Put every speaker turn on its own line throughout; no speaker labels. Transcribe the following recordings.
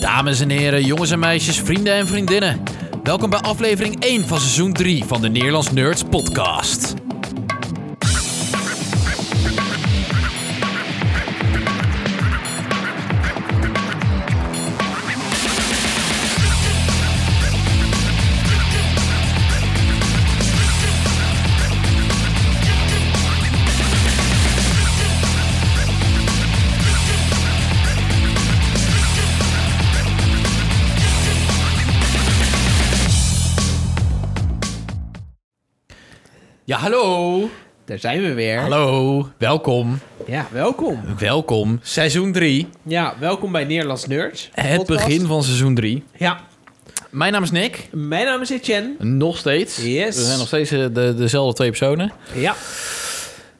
Dames en heren, jongens en meisjes, vrienden en vriendinnen. Welkom bij aflevering 1 van seizoen 3 van de Nederlands Nerds podcast. Ja, hallo.
Daar zijn we weer.
Hallo, welkom.
Ja, welkom.
Welkom. Seizoen 3.
Ja, welkom bij Nederlands Nerds.
Het
podcast.
begin van seizoen 3.
Ja,
Mijn naam is Nick.
mijn naam is Etienne.
Nog steeds.
Yes.
We zijn nog steeds eh, de, dezelfde twee personen.
Ja.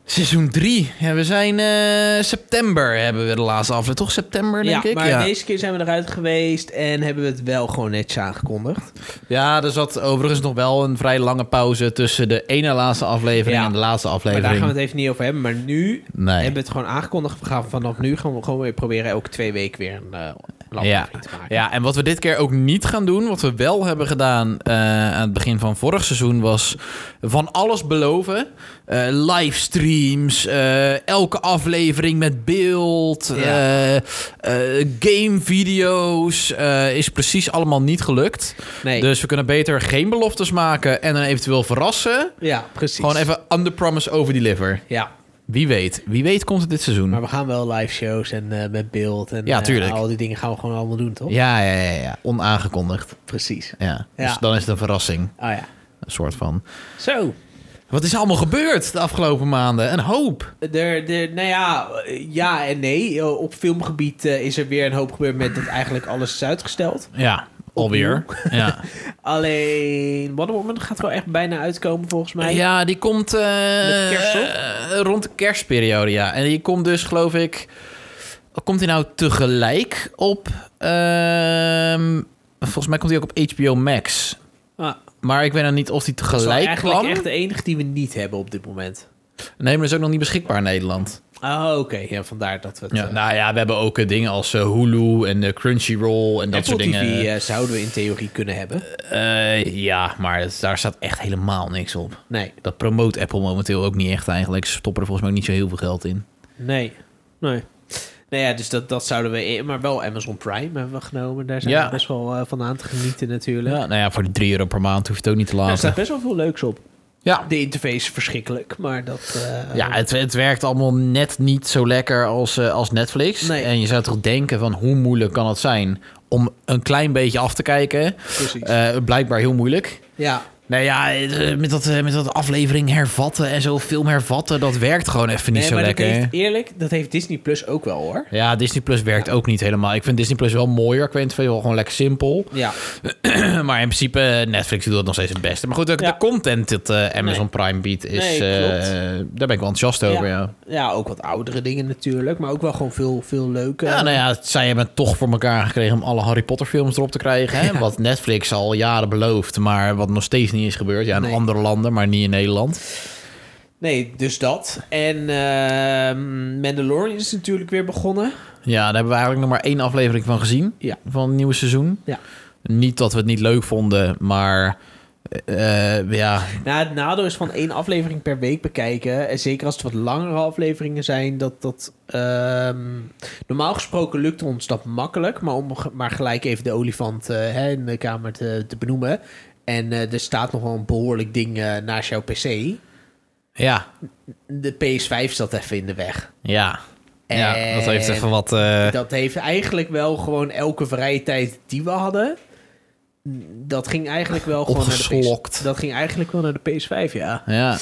Seizoen 3. we zijn eh, september hebben we de laatste aflevering. Toch september, denk
ja,
ik?
maar deze keer zijn we eruit geweest en hebben we het wel gewoon netjes aangekondigd.
Ja, er zat overigens nog wel een vrij lange pauze tussen de ene laatste aflevering
Ja.
en de laatste
Maar daar
aflevering.
gaan we het even niet over hebben. Maar nu
Nee.
hebben we het gewoon aangekondigd. We gaan vanaf nu gaan we gewoon weer proberen elke twee weken weer een eh
ja.
aflevering te maken.
ja, en wat we dit keer ook niet gaan doen, wat we wel hebben gedaan eh, aan het begin van vorig seizoen, was van alles beloven. Eh, livestreams, eh, elke aflevering met beeld,
Ja.
eh, eh, gamevideo's, eh, is precies allemaal niet gelukt.
Nee.
Dus we kunnen beter geen beloftes maken en dan eventueel verrassen.
Ja, precies.
Gewoon even under promise over deliver.
Ja,
Wie weet. Wie weet komt het dit seizoen.
maar we gaan wel live shows en eh, met beeld en
Ja,
eh,
tuurlijk.
al die dingen gaan we gewoon allemaal doen, toch?
Ja, ja, ja, ja. Onaangekondigd.
Precies.
Ja. Dus
Ja.
dan is het een verrassing.
Oh ja.
Een soort van.
Zo.
Wat is er allemaal gebeurd de afgelopen maanden? Een hoop.
Er, er, nou ja, eh, ja en nee. Eh, Op filmgebied eh, is er weer een hoop gebeurd met dat eigenlijk alles is uitgesteld.
Ja, alweer. Ja.
Alleen Wonder Woman gaat wel echt bijna uitkomen volgens mij.
ja, die komt... eh,
Met kerst, toch?
eh, rond de kerstperiode, ja. En die komt dus, geloof ik... Komt die nou tegelijk op... ehm, volgens mij komt die ook op HBO Max.
Ah,
Maar ik weet nou niet of die
dat is wel
tegelijk
eigenlijk
kwam.
echt de enige die we niet hebben op dit moment.
Nee, maar dat is ook nog niet beschikbaar in Nederland.
Oh, oké. Ja, vandaar dat we het...
Ja,
eh,
nou ja, we hebben ook eh, dingen als eh, Hulu en eh, Crunchyroll en dat
Apple
soort dingen.
TV eh, zouden we in theorie kunnen hebben.
Eh, ja, maar het- daar staat echt helemaal niks op.
Nee.
Dat promoot Apple momenteel ook niet echt eigenlijk. Ze stoppen er volgens mij ook niet zo heel veel geld in.
Nee. Nee. Nou ja, dus dat, dat zouden we... in- Maar wel Amazon Prime hebben we genomen. Daar zijn
Ja.
we best wel eh, van aan te genieten natuurlijk.
Ja, nou ja, voor de 3 euro per maand hoef je het ook niet te
Ja, er
laten.
staat best wel veel leuks op.
Ja,
De interface is verschrikkelijk, maar dat... eh,
ja het, het werkt allemaal net niet zo lekker als, eh, als Netflix.
Nee.
En je zou toch denken van hoe moeilijk kan het zijn om een klein beetje af te kijken.
Precies.
Eh, blijkbaar heel moeilijk.
ja.
Nou ja, eh, met dat, eh, met dat aflevering hervatten en zo film hervatten, dat werkt gewoon even niet
Nee,
zo
maar
lekker.
dat heeft, eerlijk, dat heeft Disney Plus ook wel hoor.
Ja, Disney Plus werkt ook niet helemaal. Ik vind Disney Plus wel mooier. Ik vind het wel gewoon lekker simpel.
Ja,
maar in principe, eh, Netflix doet dat nog steeds het beste. Maar goed, ook
Ja.
de content dat eh, Amazon Prime biedt, is,
Nee, klopt.
eh, daar ben ik wel enthousiast over. Ja.
ja. ja, ook wat oudere dingen natuurlijk, maar ook wel gewoon veel, veel leuke.
Ja, nou ja, zij hebben het toch voor elkaar gekregen om alle Harry Potter films erop te krijgen. Hè? Wat Netflix al jaren belooft, maar wat nog steeds niet is gebeurd. Ja, in
Nee.
andere landen, maar niet in Nederland.
Nee, dus dat. En ehm, Mandalorian is natuurlijk weer begonnen.
Ja, daar hebben we eigenlijk nog maar één aflevering van gezien.
Ja.
Van het nieuwe seizoen.
Ja.
Niet dat we het niet leuk vonden, maar eh, eh, ja,
Nou, het nadeel is van één aflevering per week bekijken. En zeker als het wat langere afleveringen zijn, dat dat. ehm, normaal gesproken lukt ons dat makkelijk. Maar om ge- maar gelijk even de olifant eh, hè, in de kamer te, te benoemen. En eh, er staat nog wel een behoorlijk ding eh, naast jouw PC.
ja,
De PS5 zat even in de weg.
Ja. Ja,
En-
dat heeft even wat... eh,
Dat heeft eigenlijk wel gewoon elke vrije tijd die we hadden. Dat ging eigenlijk wel gewoon naar de PS,
Opgeslokt.
Dat ging eigenlijk wel naar de PS5, ja.
ja.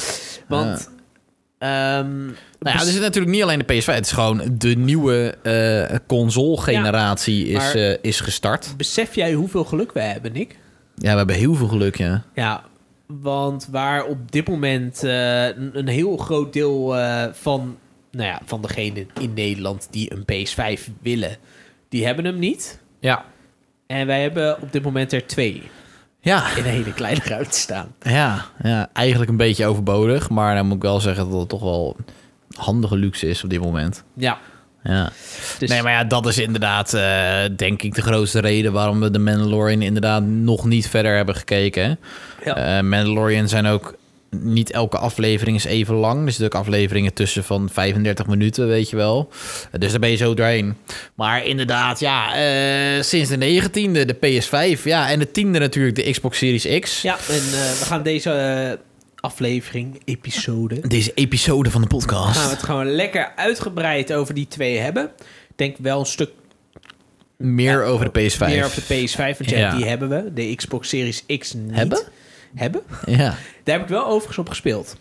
Want. ehm,
Nou ja,
bes-
dus het is natuurlijk niet alleen de PS5. Het is gewoon de nieuwe eh, console-generatie
Ja,
is,
maar-
eh, is gestart.
Besef jij hoeveel geluk we hebben, Nick?
Ja, we hebben heel veel geluk, ja.
Ja, want waar op dit moment eh, een, een heel groot deel eh, van, nou ja, van degenen in Nederland die een PS5 willen, die hebben hem niet.
Ja.
En wij hebben op dit moment er twee
Ja,
in een hele kleine ruimte staan.
ja, ja. Eigenlijk een beetje overbodig. Maar dan moet ik wel zeggen dat het toch wel handige luxe is op dit moment.
Ja,
Ja.
Dus-
Nee, maar ja, dat is inderdaad, eh, denk ik, de grootste reden waarom we de Mandalorian inderdaad nog niet verder hebben gekeken.
Ja.
Eh, Mandalorian zijn ook niet elke aflevering is even lang. Er zitten ook afleveringen tussen van 35 minuten, weet je wel. Eh, Dus daar ben je zo doorheen. Maar inderdaad, ja, eh, sinds de 19e, de PS5, ja, en de 10e natuurlijk, de Xbox Series X.
Ja, en eh, we gaan deze eh, aflevering, episode,
Deze episode van de podcast.
gaan we Nou, het gewoon lekker uitgebreid over die twee hebben. Ik denk wel een stuk
Meer over de PS5.
meer op de PS5, want ja,
Ja.
die hebben we. De Xbox Series X niet.
Hebben?
Hebben.
Ja,
Daar heb ik wel overigens op gespeeld.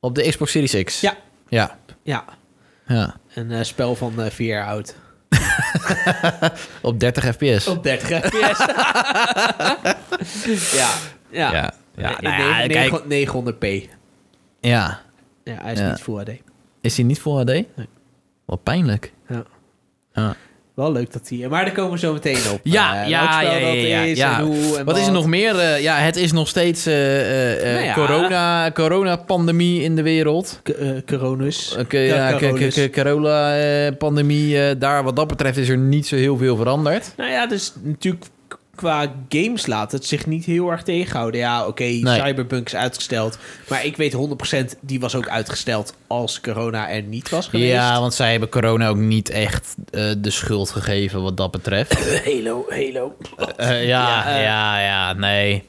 op de Xbox Series X.
Ja.
Ja,
Ja,
ja.
een eh, spel van eh, vier jaar oud.
Op 30 fps.
Op 30 fps. ja, ja.
ja. Ja,
Nee,
nou ja,
nee,
kijk,
900p.
ja.
Ja, hij is
Ja.
niet Full HD.
Is hij niet Full HD? Wat pijnlijk.
Ja.
Ja,
Wel leuk dat hij... Maar daar komen we zo meteen op.
ja,
Eh,
ja,
welk spel
ja,
dat
ja,
is
ja.
en hoe en
wat is er nog meer? eh, ja, het is nog steeds eh, eh, eh,
Nou ja.
corona, coronapandemie in de wereld.
K- eh, coronus.
Oké, ja,
Ja,
k- k-
coronus.
k- corona-pandemie. eh, daar, wat dat betreft, is er niet zo heel veel veranderd.
Nou ja, dus natuurlijk k- qua games laat het zich niet heel erg tegenhouden. Ja, oké, Cyberpunk is uitgesteld. Maar ik weet 100% die was ook uitgesteld als corona er niet was geweest.
Ja, want zij hebben corona ook niet echt eh, de schuld gegeven, wat dat betreft.
Halo, Halo.
Eh, ja,
Ja,
ja,
eh.
ja, nee.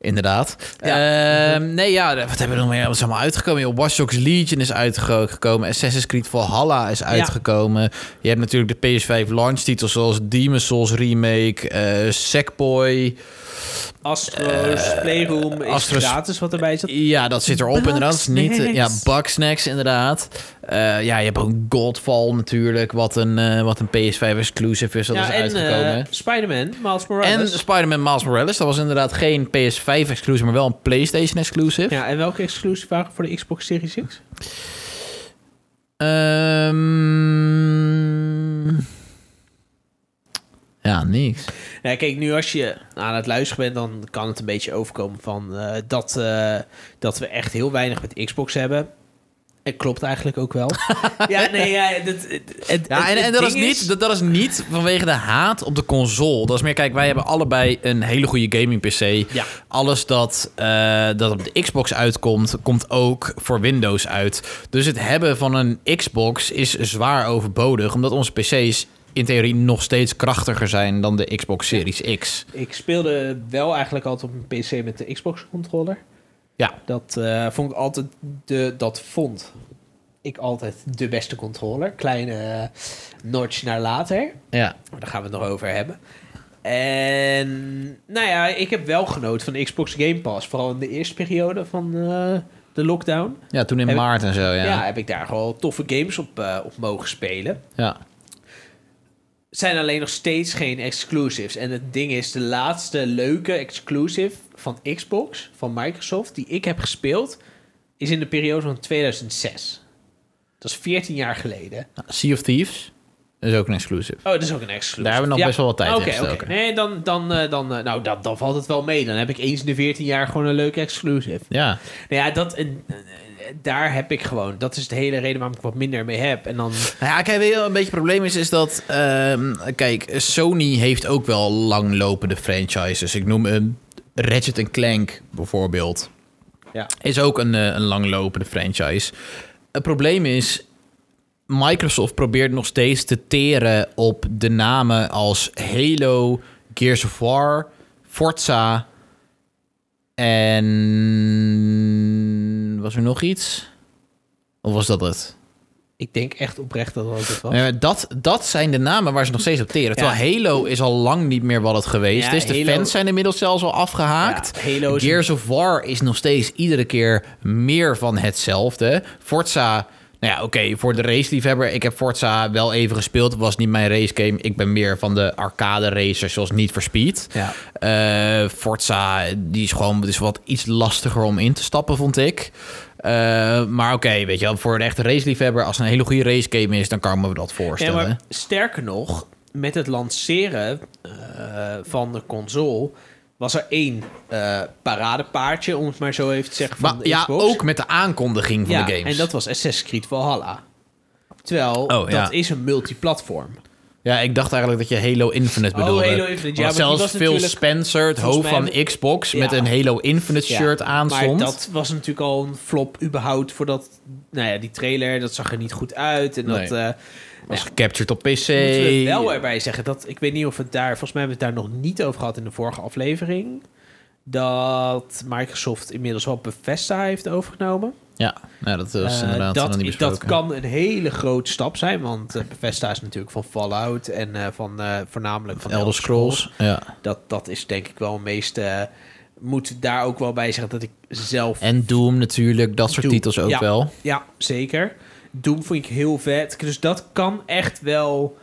Inderdaad.
Ja.
Ehm, nee, ja, wat hebben we nog meer? Wat is allemaal uitgekomen? Joh, Watch Dogs Legion is uitgekomen. Assassin's Creed Valhalla is uitgekomen. Je hebt natuurlijk de PS5 launch titels zoals Demon's Souls Remake, eh Sackboy.
Astro's Playroom is
Eh, Astro's-
gratis wat erbij zat.
Ja, dat zit erop inderdaad. Dat is Niet, eh, ja,
Bugsnax.
Bugsnax inderdaad. Eh, ja, je hebt ook Godfall natuurlijk, wat een, eh, wat een PS5 exclusive is. Dat is
ja, en
uitgekomen.
eh, Spider-Man, Miles
En
Morales.
Spider-Man Miles Morales. Dat was inderdaad geen PS5-exclusive, maar wel een PlayStation-exclusive.
ja, en welke exclusies waren voor de Xbox Series X?
Ehm, ja, niks.
Nou, kijk, nu als je aan het luisteren bent, dan kan het een beetje overkomen van eh, dat, eh, dat we echt heel weinig met Xbox hebben. Het klopt eigenlijk ook wel. ja, nee, ja, dat, het- het-
Ja, en,
het
en dat, is
ding
niet, dat, dat is niet vanwege de haat op de console. Dat is meer, kijk, wij hebben allebei een hele goede gaming-PC.
Ja.
Alles dat, eh, dat op de Xbox uitkomt, komt ook voor Windows uit. Dus het hebben van een Xbox is zwaar overbodig, omdat onze PC's in theorie nog steeds krachtiger zijn dan de Xbox Series X.
Ik speelde wel eigenlijk altijd op een PC met de Xbox controller.
Ja.
Dat eh, vond ik altijd de, dat vond ik altijd de beste controller. Kleine eh, notch naar later.
Ja.
Maar daar gaan we het nog over hebben. En nou ja, ik heb wel genoten van de Xbox Game Pass. Vooral in de eerste periode van eh, de lockdown.
ja, toen in
Heb ik-
maart en zo, ja.
Ja.
Ja.
heb ik daar gewoon toffe games op, eh, op mogen spelen.
ja.
Zijn alleen nog steeds geen exclusives. En het ding is, de laatste leuke exclusive van Xbox, van Microsoft, die ik heb gespeeld, is in de periode van 2006. Dat is 14 jaar geleden.
Sea of Thieves is ook een exclusive.
Oh, dat is ook een exclusive.
Daar hebben we nog best wel wat tijd in
Oké, oké.
gestoken.
Nee, dan, dan, eh, dan, eh, nou, dan, dan valt het wel mee. Dan heb ik eens in de 14 jaar gewoon een leuke exclusive.
Ja.
Nou ja, dat, en, eh, eh, daar heb ik gewoon. Dat is de hele reden waarom ik wat minder mee heb. En dan...
Nou Ja, kijk, weet je wel, een beetje het probleem is, is dat... ehm, kijk, Sony heeft ook wel langlopende franchises. Ik noem een Ratchet Clank bijvoorbeeld.
Ja.
Is ook een, eh, een langlopende franchise. Het probleem is... Microsoft probeert nog steeds te teren op de namen als Halo, Gears of War, Forza en... Was er nog iets? Of was dat het?
Ik denk echt oprecht dat dat het was.
Ja, maar dat, dat zijn de namen waar ze nog steeds op teren.
Ja.
Terwijl Halo is al lang niet meer wat het geweest
Ja,
is. De
Halo-
fans zijn inmiddels zelfs al afgehaakt.
Ja, Halo is een-
Gears of War is nog steeds iedere keer meer van hetzelfde. Forza, nou ja, oké, voor de race-liefhebber. Ik heb Forza wel even gespeeld. Het was niet mijn racegame. Ik ben meer van de arcade racers, zoals Need for Speed.
Ja.
Eh, Forza, die is gewoon het is wat iets lastiger om in te stappen, vond ik. Eh, maar oké, weet je wel, voor een echte raceliefhebber... als het een hele goede racegame is, dan kan ik me dat
Ja,
voorstellen.
maar sterker nog, met het lanceren eh, van de console was er één eh, paradepaardje, om het maar zo even te zeggen, van
Maar
de
ja,
Xbox.
ook met de aankondiging van
ja,
de games. Oh,
en dat was Assassin's Creed Valhalla. Terwijl dat
ja.
is een multiplatform.
Ja, ik dacht eigenlijk dat je Halo Infinite
Oh,
bedoelde.
Halo Infinite, ja,
Want
maar die
zelfs
was
Phil
natuurlijk-
Spencer, het
Volgens
hoofd van
mij-
Xbox, met
Ja.
een Halo Infinite
Ja,
shirt aan stond.
Maar dat was natuurlijk al een flop überhaupt voor dat... Nou ja, die trailer, dat zag er niet goed uit. En dat...
Nee.
eh,
was gecaptured op PC.
Moeten we wel erbij zeggen dat ik weet niet of het daar, volgens mij hebben we het daar nog niet over gehad in de vorige aflevering. Dat Microsoft inmiddels wel Bethesda heeft overgenomen.
Ja, nou, dat was
Eh,
inderdaad nog
dat,
niet
i- dat
besproken.
kan een hele grote stap zijn, want eh, Bethesda is natuurlijk van Fallout en eh, van eh, voornamelijk van
Elder Scrolls. Ja.
Dat, dat is denk ik wel een meest. eh, moet daar ook wel bij zeggen dat ik zelf.
En Doom natuurlijk, dat soort
Doom,
titels ook
ja.
wel.
Ja, zeker. Doom vond ik heel vet. Dus dat kan echt wel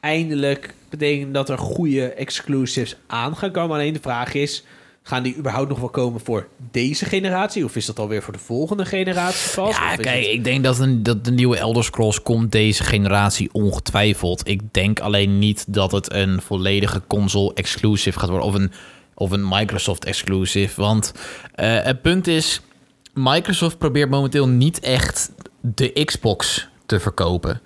eindelijk betekenen dat er goede exclusives aan gaan komen. Alleen de vraag is, gaan die überhaupt nog wel komen voor deze generatie? Of is dat alweer voor de volgende generatie pas?
Ja,
Of is
kijk,
het-
ik denk dat, een, dat de nieuwe Elder Scrolls komt deze generatie ongetwijfeld. Ik denk alleen niet dat het een volledige console-exclusive gaat worden. Of een, of een Microsoft-exclusive. Want eh, het punt is, Microsoft probeert momenteel niet echt de Xbox te verkopen.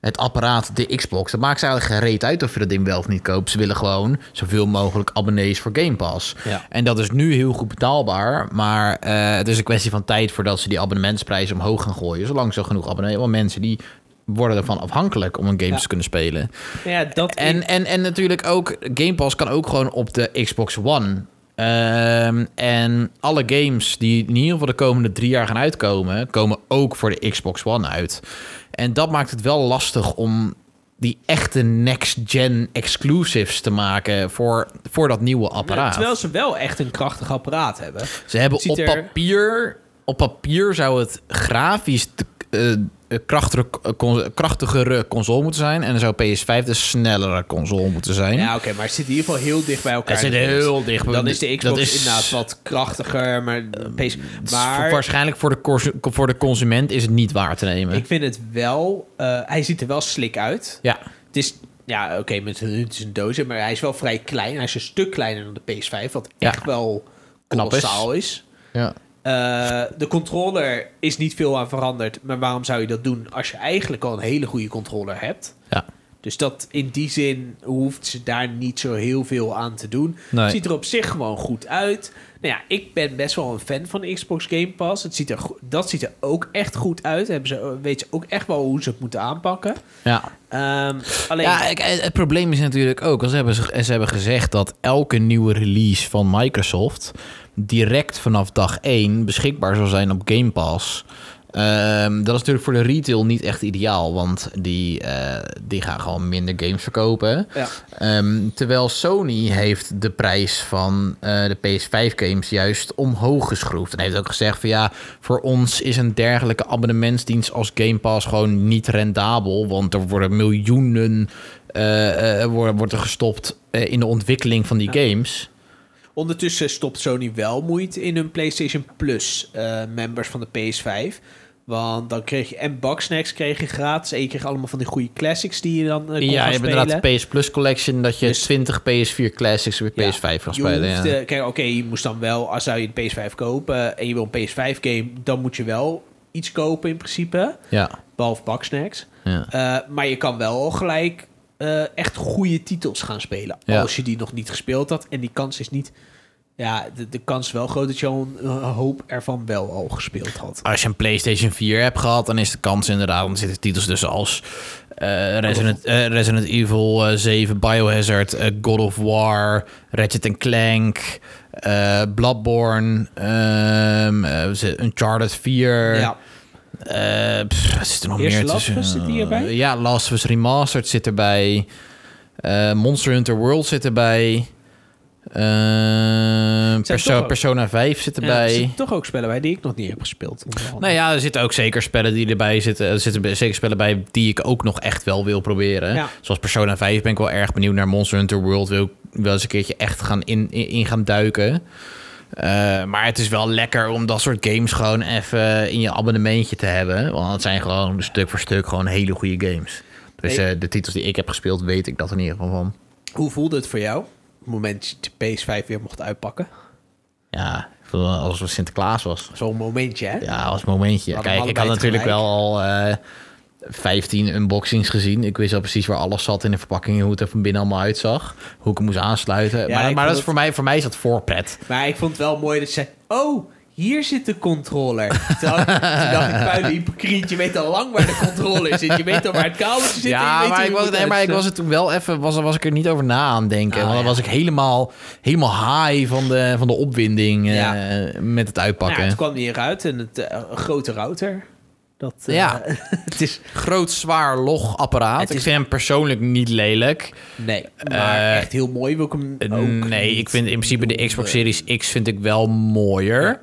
Het apparaat, de Xbox. Dat maakt ze eigenlijk gereed uit of je dat ding wel of niet koopt. Ze willen gewoon zoveel mogelijk abonnees voor Game Pass.
Ja.
En dat is nu heel goed betaalbaar. Maar eh, het is een kwestie van tijd voordat ze die abonnementsprijzen omhoog gaan gooien. Zolang ze genoeg abonnees. Want mensen die worden ervan afhankelijk om een game
Ja.
te kunnen spelen.
ja, dat
En, en, en natuurlijk ook, Game Pass kan ook gewoon op de Xbox One. Ehm, en alle games die in ieder geval de komende drie jaar gaan uitkomen, komen ook voor de Xbox One uit. En dat maakt het wel lastig om die echte next-gen exclusives te maken voor, voor dat nieuwe apparaat. Hm?
Terwijl ze wel echt een krachtig apparaat hebben.
Ze hebben
Ziet
op
er-
papier... Op papier zou het grafisch te- eh, een krachtere, con- krachtigere console moeten zijn. En dan zou PS5 de snellere console moeten zijn.
Ja, oké, maar het zit in ieder geval heel dicht bij elkaar.
Het zit heel dicht bij-
Dan is de Xbox
dat is- Ehm,
inderdaad wat krachtiger, maar... de PS
Het is voor-
maar
waarschijnlijk voor de, cons- voor de consument is het niet waar te nemen.
ik vind het wel... eh, hij ziet er wel slik uit.
Ja,
Het is, ja, oké, met een- het is een doosje, maar hij is wel vrij klein. Hij is een stuk kleiner dan de PS5, wat
Ja.
echt wel
Knap is.
kolossaal is.
ja.
Eh, de controller is niet veel aan veranderd, maar waarom zou je dat doen als je eigenlijk al een hele goede controller hebt?
ja.
Dus dat in die zin hoeft ze daar niet zo heel veel aan te doen.
Nee.
Ziet er op zich gewoon goed uit. Nou ja, ik ben best wel een fan van de Xbox Game Pass. Het ziet er, go- dat ziet er ook echt goed uit. Hebben ze, weet ze ook echt wel hoe ze het moeten aanpakken.
ja.
Ehm, alleen,
Ja, ik- het, het probleem is natuurlijk ook, als ze, hebben, ze ze hebben gezegd dat elke nieuwe release van Microsoft direct vanaf dag 1 beschikbaar zal zijn op Game Pass. Ehm, dat is natuurlijk voor de retail niet echt ideaal, want die, eh, die gaan gewoon minder games verkopen.
Ja.
Ehm, terwijl Sony heeft de prijs van eh, de PS5-games juist omhoog geschroefd. En heeft ook gezegd van ja, voor ons is een dergelijke abonnementsdienst als Game Pass gewoon niet rendabel. Want er worden miljoenen eh, eh, worden, wordt er gestopt eh, in de ontwikkeling van die games.
Ondertussen stopt Sony wel moeite in hun PlayStation Plus eh, members van de PS5. Want dan kreeg je en Bugsnacks kreeg je gratis. En je kreeg allemaal van die goede classics die je dan eh, kon
ja,
gaan
je hebt inderdaad
spelen.
de PS Plus Collection dat je
Dus-
20 PS4 Classics op je
Ja,
PS5 kan
je
spelen.
hoeft,
ja.
eh, kijk, oké, je moest dan wel, als zou je een PS5 kopen en je wil een PS5 game, dan moet je wel iets kopen in principe.
ja,
Behalve Bugsnacks.
ja.
Eh, maar je kan wel gelijk eh, echt goede titels gaan spelen.
Ja.
Als je die nog niet gespeeld had. En die kans is niet. Ja, de, de kans is wel groot dat je al een, een hoop ervan wel al gespeeld had.
als je een PlayStation 4 hebt gehad, dan is de kans inderdaad. Dan zitten titels dus als eh, Resident, eh, Resident Evil eh, 7, Biohazard, eh, God of War, Ratchet and Clank, eh, Bloodborne, ehm, eh, ze- Uncharted 4.
Ja,
Eh, pff, wat zit er nog
Eerst
meer
Last of
tussen?
Us zit die erbij?
Ja, Last of Us Remastered zit erbij. Eh, Monster Hunter World zit erbij. Eh, Perso-
toch ook-
Persona 5 zit
en er
erbij.
zitten toch ook spellen bij die ik nog niet heb gespeeld.
Nou ja, er zitten ook zeker spellen die erbij zitten. Er zitten zeker spellen bij die ik ook nog echt wel wil proberen.
Ja.
Zoals Persona 5 ben ik wel erg benieuwd naar. Monster Hunter World wil ik wel eens een keertje echt gaan in, in, in gaan duiken. Eh, maar het is wel lekker om dat soort games gewoon even in je abonnementje te hebben. Want het zijn gewoon stuk voor stuk gewoon hele goede games. Dus
Nee.
eh, de titels die ik heb gespeeld, weet ik dat in ieder geval van.
Hoe voelde het voor jou? Op het moment dat je de PS5 weer mocht uitpakken.
Ja, ik voel me alsof het Sinterklaas was.
Zo'n momentje, hè?
Ja, als momentje.
hadden
Kijk, ik had
allebei
natuurlijk
tegelijk.
wel al eh, 15 unboxings gezien. Ik wist al precies waar alles zat in de verpakking en hoe het er van binnen allemaal uitzag. Hoe ik hem moest aansluiten.
Ja,
maar
ik
maar
vond
dat is
het-
voor, mij, voor mij is dat voorpret.
Maar ik vond het wel mooi dat ze zei... Oh, hier zit de controller. Terwijl- Toen dacht ik, puile hypocriet. Je weet al lang waar de controller zit. Je weet al waar het kabeltje zit. en je
Ja,
weet hoe
maar,
je
ik was,
moet
nee, maar ik was er toen wel even, was, was ik er niet over na aan het denken.
Ah,
want dan
ja.
was ik helemaal, helemaal high van de, van de opwinding eh,
Ja.
met het
Nou,
uitpakken.
het kwam hieruit en het eh, een grote router. Dat, eh,
Ja.
het is...
Groot, zwaar, log apparaat.
Het
Ik
is-
vind hem persoonlijk niet lelijk.
Nee, maar
Eh,
echt heel mooi wil ik hem
Eh,
ook
nee,
niet eh.
ik vind in principe de
doen.
Xbox Series X vind ik wel mooier.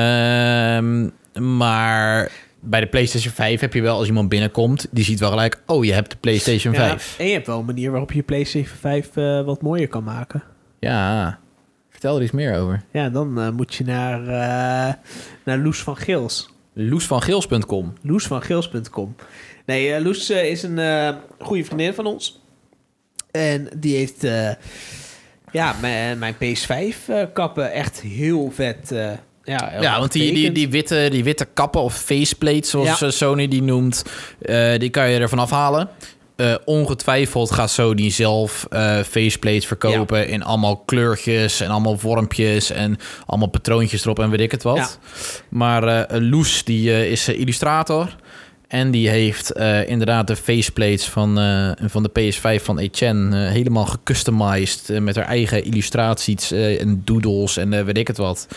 Ehm, maar bij de PlayStation 5 heb je wel, als iemand binnenkomt, die ziet wel gelijk, oh, je hebt de PlayStation
Ja,
5.
En je hebt wel een manier waarop je je PlayStation 5 eh, wat mooier kan maken.
Ja, vertel er iets meer over.
Ja, dan eh, moet je naar, eh, naar Loes van Gils.
Loesvangeels.com.
loesvangils.com. Nee, eh, Loes eh, is een eh, goede vriendin van ons. En die heeft eh, ja, mijn, mijn PS5-kappen eh, echt heel vet. eh, ja, heel
Ja, want die, die,
getekend.
die, witte, die witte kappen of faceplates, zoals
Ja.
eh, Sony die noemt, eh, die kan je ervan afhalen. Eh, ongetwijfeld gaat Sony zelf eh, faceplates verkopen in allemaal kleurtjes en allemaal vormpjes en allemaal patroontjes erop en weet ik het wat. Maar eh, Loes, die eh, is eh, illustrator en die heeft eh, inderdaad de faceplates van, eh, van de PS5 van Etienne eh, helemaal gecustomized eh, met haar eigen illustraties eh, en doodles en eh, weet ik het wat.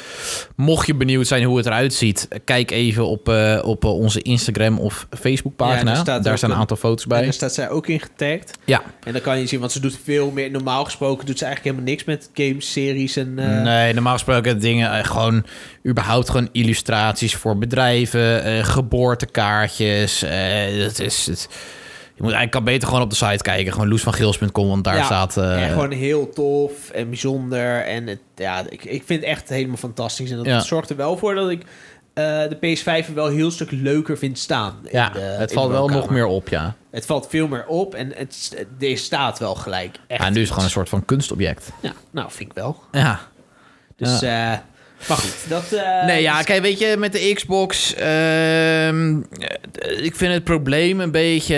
Mocht je benieuwd zijn hoe het eruit ziet, kijk even op, eh, op eh, onze Instagram of
Ja,
Facebookpagina.
daar staat
daar
ook
staan een
een-
aantal foto's
En
bij.
daar staat zij ook in getagd.
Ja.
En dan kan je zien, want ze doet veel meer. Normaal gesproken doet ze eigenlijk helemaal niks met games, series en... eh,
Nee, normaal gesproken dingen eh, gewoon überhaupt gewoon illustraties voor bedrijven, eh, geboortekaartjes. eh, dat is het. Je moet eigenlijk kan beter gewoon op de site kijken, gewoon loesvangeels.com, want daar
Ja,
staat. eh,
en gewoon heel tof en bijzonder. En het, ja, ik, ik vind het echt helemaal fantastisch. En dat
Ja.
zorgt er wel voor dat ik eh, de PS5 wel een heel stuk leuker vind staan. in
ja,
de- in
het
de
valt wel
woonkamer.
nog meer op, ja.
Het valt veel meer op en het, s- er staat wel gelijk. Echt.
ja. En nu is het gewoon een soort van kunstobject.
Ja, nou, vind ik wel.
Ja.
Dus, eh, maar goed, dat... eh,
Nee, ja,
is-
kijk, weet je, met de Xbox... ehm, eh, ik vind het probleem een beetje...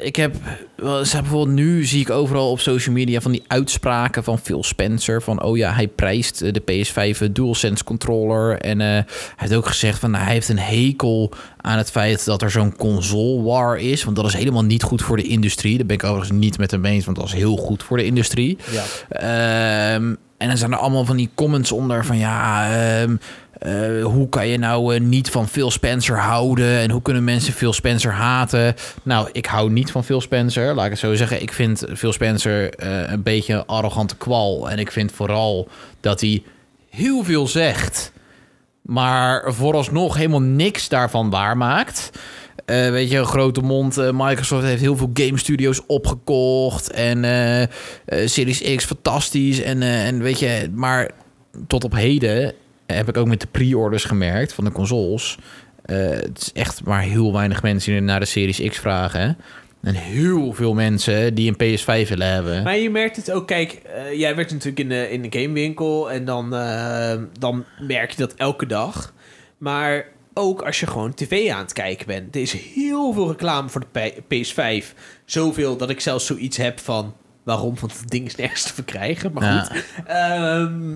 Ik heb... wel, ze hebben bijvoorbeeld nu zie ik overal op social media... van die uitspraken van Phil Spencer... van, oh ja, hij prijst eh, de PS5 DualSense controller. En eh, hij heeft ook gezegd van... nou, hij heeft een hekel aan het feit dat er zo'n console war is. Want dat is helemaal niet goed voor de industrie. Daar ben ik overigens niet met hem eens... want dat is heel goed voor de industrie.
Ja.
Ehm, en dan zijn er allemaal van die comments onder van ja, ehm, eh, hoe kan je nou eh, niet van Phil Spencer houden en hoe kunnen mensen Phil Spencer haten? Nou, ik hou niet van Phil Spencer, laat ik het zo zeggen. Ik vind Phil Spencer eh, een beetje een arrogante kwal en ik vind vooral dat hij heel veel zegt, maar vooralsnog helemaal niks daarvan waarmaakt. Eh, weet je, een grote mond. eh, Microsoft heeft heel veel game studios opgekocht. En eh, eh, Series X fantastisch. En, eh, en weet je, maar tot op heden heb ik ook met de pre-orders gemerkt van de consoles. eh, het is echt maar heel weinig mensen die naar de Series X vragen. hè. En heel veel mensen die een PS5 willen hebben.
Maar je merkt het ook, kijk, eh, jij werkt natuurlijk in de, in de gamewinkel en dan, eh, dan merk je dat elke dag. Maar ook als je gewoon tv aan het kijken bent. Er is heel veel reclame voor de P- PS5. Zoveel dat ik zelfs zoiets heb van waarom, want het ding is nergens te verkrijgen. Maar
Ja.
goed. Ehm,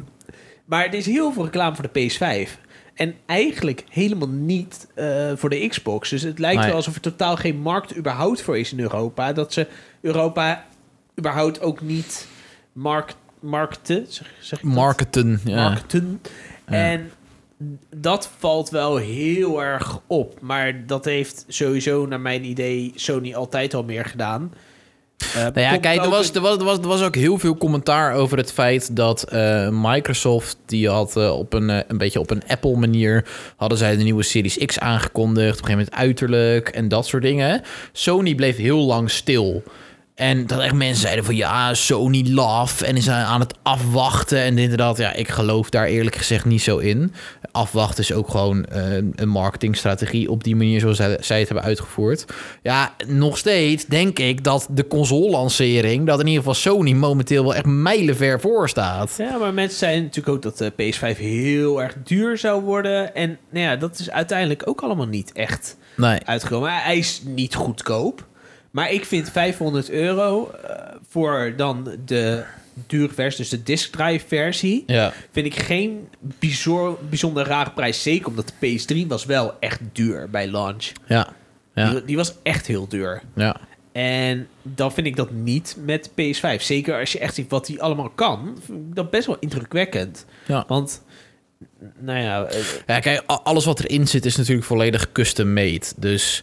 maar er is heel veel reclame voor de PS5. En eigenlijk helemaal niet eh, voor de Xbox. Dus het lijkt
Nee.
wel alsof er totaal geen markt überhaupt voor is in Europa. Dat ze Europa überhaupt ook niet mark markten. Zeg, zeg ik dat?
Marketen. Ja.
markten.
Ja.
En dat valt wel heel erg op. Maar dat heeft sowieso, naar mijn idee, Sony altijd al meer gedaan. Eh,
Nou ja,
komt
kijk, er
ook
was,
een-
er, was, er, was, er was ook heel veel commentaar over het feit dat eh, Microsoft, die had eh, op een, eh, een beetje op een Apple manier, hadden zij de nieuwe Series X aangekondigd, op een gegeven moment uiterlijk en dat soort dingen. Sony bleef heel lang stil. En dat echt mensen zeiden van ja, Sony love en is aan- aan het afwachten. En inderdaad, ja, ik geloof daar eerlijk gezegd niet zo in. Afwachten is ook gewoon eh, een marketingstrategie op die manier zoals zij, zij het hebben uitgevoerd. Ja, nog steeds denk ik dat de console-lancering, dat in ieder geval Sony momenteel wel echt mijlenver voor staat.
Ja, maar mensen zeiden natuurlijk ook dat de PS5 heel erg duur zou worden. En nou ja, dat is uiteindelijk ook allemaal niet echt
Nee,
uitgekomen. Hij- Hij is niet goedkoop. Maar ik vind 500 euro eh, voor dan de dure versie, dus de disk drive versie,
ja.
vind ik geen bijzor, bijzonder rare prijs. Zeker omdat de PS3 was wel echt duur bij launch.
Ja, ja,
Die, die was echt heel duur.
ja.
En dan vind ik dat niet met PS5. Zeker als je echt ziet wat die allemaal kan, vind ik dat best wel indrukwekkend.
Ja.
Want, nou ja, eh,
Ja, kijk, a- alles wat erin zit is natuurlijk volledig custom made. Dus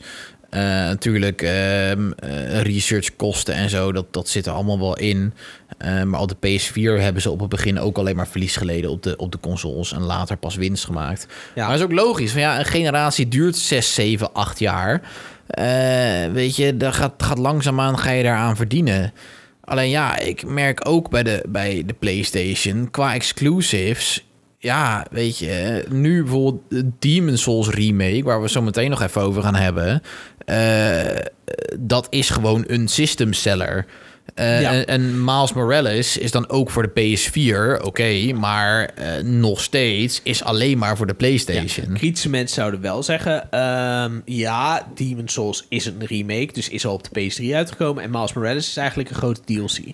eh, natuurlijk ehm, eh, researchkosten en zo, dat, dat zit er allemaal wel in. Eh, maar al de PS4 hebben ze op het begin ook alleen maar verlies geleden op de, op de consoles. En later pas winst gemaakt.
Ja.
Maar dat is ook logisch. Van ja, een generatie duurt 6, 7, 8 jaar. Eh, weet je, daar gaat, gaat langzaamaan ga je daaraan verdienen. Alleen ja, ik merk ook bij de, bij de PlayStation, qua exclusives. Ja, weet je, nu bijvoorbeeld de Demon Souls remake, waar we zo meteen nog even over gaan hebben. eh, dat is gewoon een system seller. Eh,
Ja.
en, en Miles Morales is dan ook voor de PS4, oké, maar eh, nog steeds is alleen maar voor de PlayStation.
kritische mensen zouden wel zeggen... ehm, ja, Demon's Souls is een remake, dus is al op de PS3 uitgekomen. En Miles Morales is eigenlijk een grote DLC.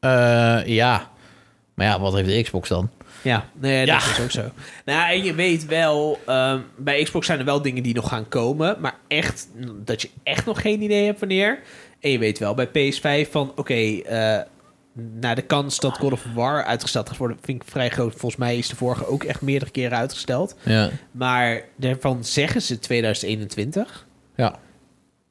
Ja, Eh, ja. maar ja, wat heeft de Xbox dan?
Ja, nee, dat
Ja.
is ook zo. Nou, en je weet wel, ehm, bij Xbox zijn er wel dingen die nog gaan komen, maar echt mm, dat je echt nog geen idee hebt wanneer. En je weet wel bij PS5 van, oké, eh, nou de kans dat God of War uitgesteld gaat worden, vind ik vrij groot. Volgens mij is de vorige ook echt meerdere keren uitgesteld.
Ja,
Maar daarvan zeggen ze 2021.
ja.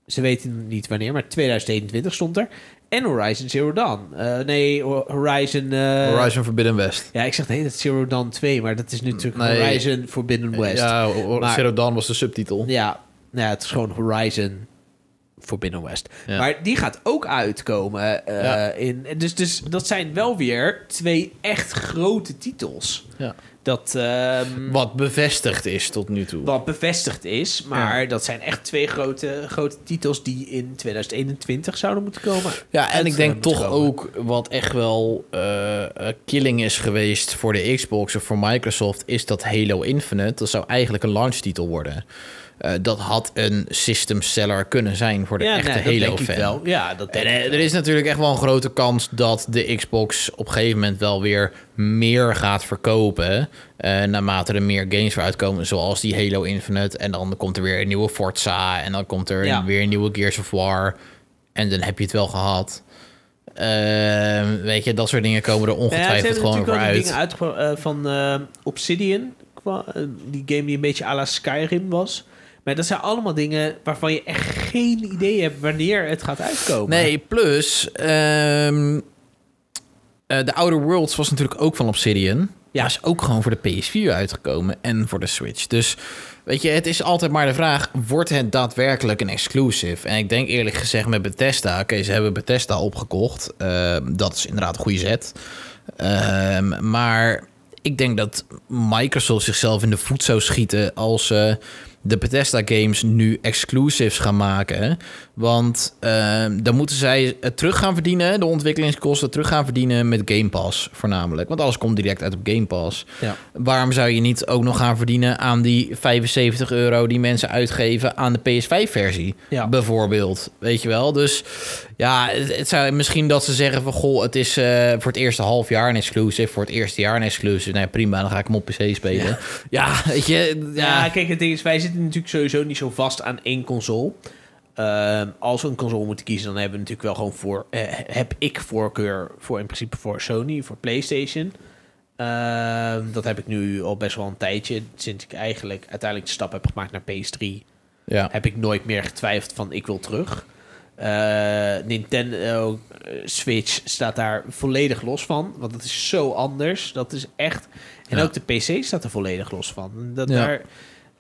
Ze weten niet wanneer, maar 2021 stond er. En Horizon Zero Dawn. Eh, nee, Ho- Horizon... eh,
Horizon Forbidden West.
ja, ik zeg nee, dat is Zero Dawn 2, maar dat is natuurlijk
Nee. Eh,
Horizon Forbidden West. Ja,
Ja, Ho-
Maar-
Zero Dawn was de subtitel.
nou ja, het is gewoon Horizon Forbidden West.
Ja.
Maar die gaat ook uitkomen. eh,
Ja.
in, dus, dus dat zijn wel weer twee echt grote titels.
Ja.
Dat, ehm,
Wat bevestigd is tot nu toe.
wat bevestigd is, maar dat zijn echt twee grote, grote titels die in 2021 zouden moeten komen.
Ja, en
Het,
ik
eh,
denk
moet
toch
komen.
ook wat echt wel eh, eh, killing is geweest voor de Xbox of voor Microsoft, is dat Halo Infinite. Dat zou eigenlijk een launchtitel worden. Eh, dat had een system seller kunnen zijn voor de
ja,
echte
nee, dat denk ik
Halo-fan.
wel. Ja, dat
En
denk ik
eh, er
wel.
is natuurlijk echt wel een grote kans dat de Xbox op een gegeven moment wel weer meer gaat verkopen. eh, naarmate er meer games voor uitkomen, zoals die Halo Infinite. En dan komt er weer een nieuwe Forza. En dan komt er
Ja.
weer een nieuwe Gears of War. En dan heb je het wel gehad. Ehm, weet je, dat soort dingen komen er
Nou Ja,
ongetwijfeld gewoon
Ze
voor
hebben
uit.
natuurlijk al die dingen uit van eh, Obsidian. kwa- eh, die game die een beetje à la Skyrim was. Maar dat zijn allemaal dingen waarvan je echt geen idee hebt wanneer het gaat uitkomen.
Nee, plus... ehm eh The Outer Worlds was natuurlijk ook van Obsidian.
Ja.
Ja. Is ook gewoon voor de PS4 uitgekomen en voor de Switch. Dus weet je, het is altijd maar de vraag... wordt het daadwerkelijk een exclusive? En ik denk eerlijk gezegd met Bethesda... Oké, ze hebben Bethesda opgekocht. Ehm, dat is inderdaad een goede zet. Ehm, maar ik denk dat Microsoft zichzelf in de voet zou schieten als ze de Bethesda games nu exclusives gaan maken. Want ehm, dan moeten zij het terug gaan verdienen, de ontwikkelingskosten terug gaan verdienen met Game Pass voornamelijk. Want alles komt direct uit op Game Pass.
Ja.
Waarom zou je niet ook nog gaan verdienen aan die 75 euro die mensen uitgeven aan de PS5-versie?
Ja.
Bijvoorbeeld, weet je wel. Dus ja, het, het zou misschien dat ze zeggen van... goh, het is eh, voor het eerste half jaar een exclusive... voor het eerste jaar een exclusive. Nou ja, prima, dan ga ik hem op PC spelen. Ja, weet je.
Ja,
Ja,
kijk, het ding is, wij zitten natuurlijk sowieso niet zo vast aan één console. Ehm, als we een console moeten kiezen, dan hebben we natuurlijk wel gewoon voor. eh, heb ik voorkeur voor in principe voor Sony, voor PlayStation. Ehm, dat heb ik nu al best wel een tijdje. Sinds ik eigenlijk uiteindelijk de stap heb gemaakt naar PS3,
ja.
heb ik nooit meer getwijfeld van ik wil terug. Eh, Nintendo eh, Switch staat daar volledig los van. Want dat is zo anders. Dat is echt. En
Ja.
ook de PC staat er volledig los van. Dat
Ja.
daar,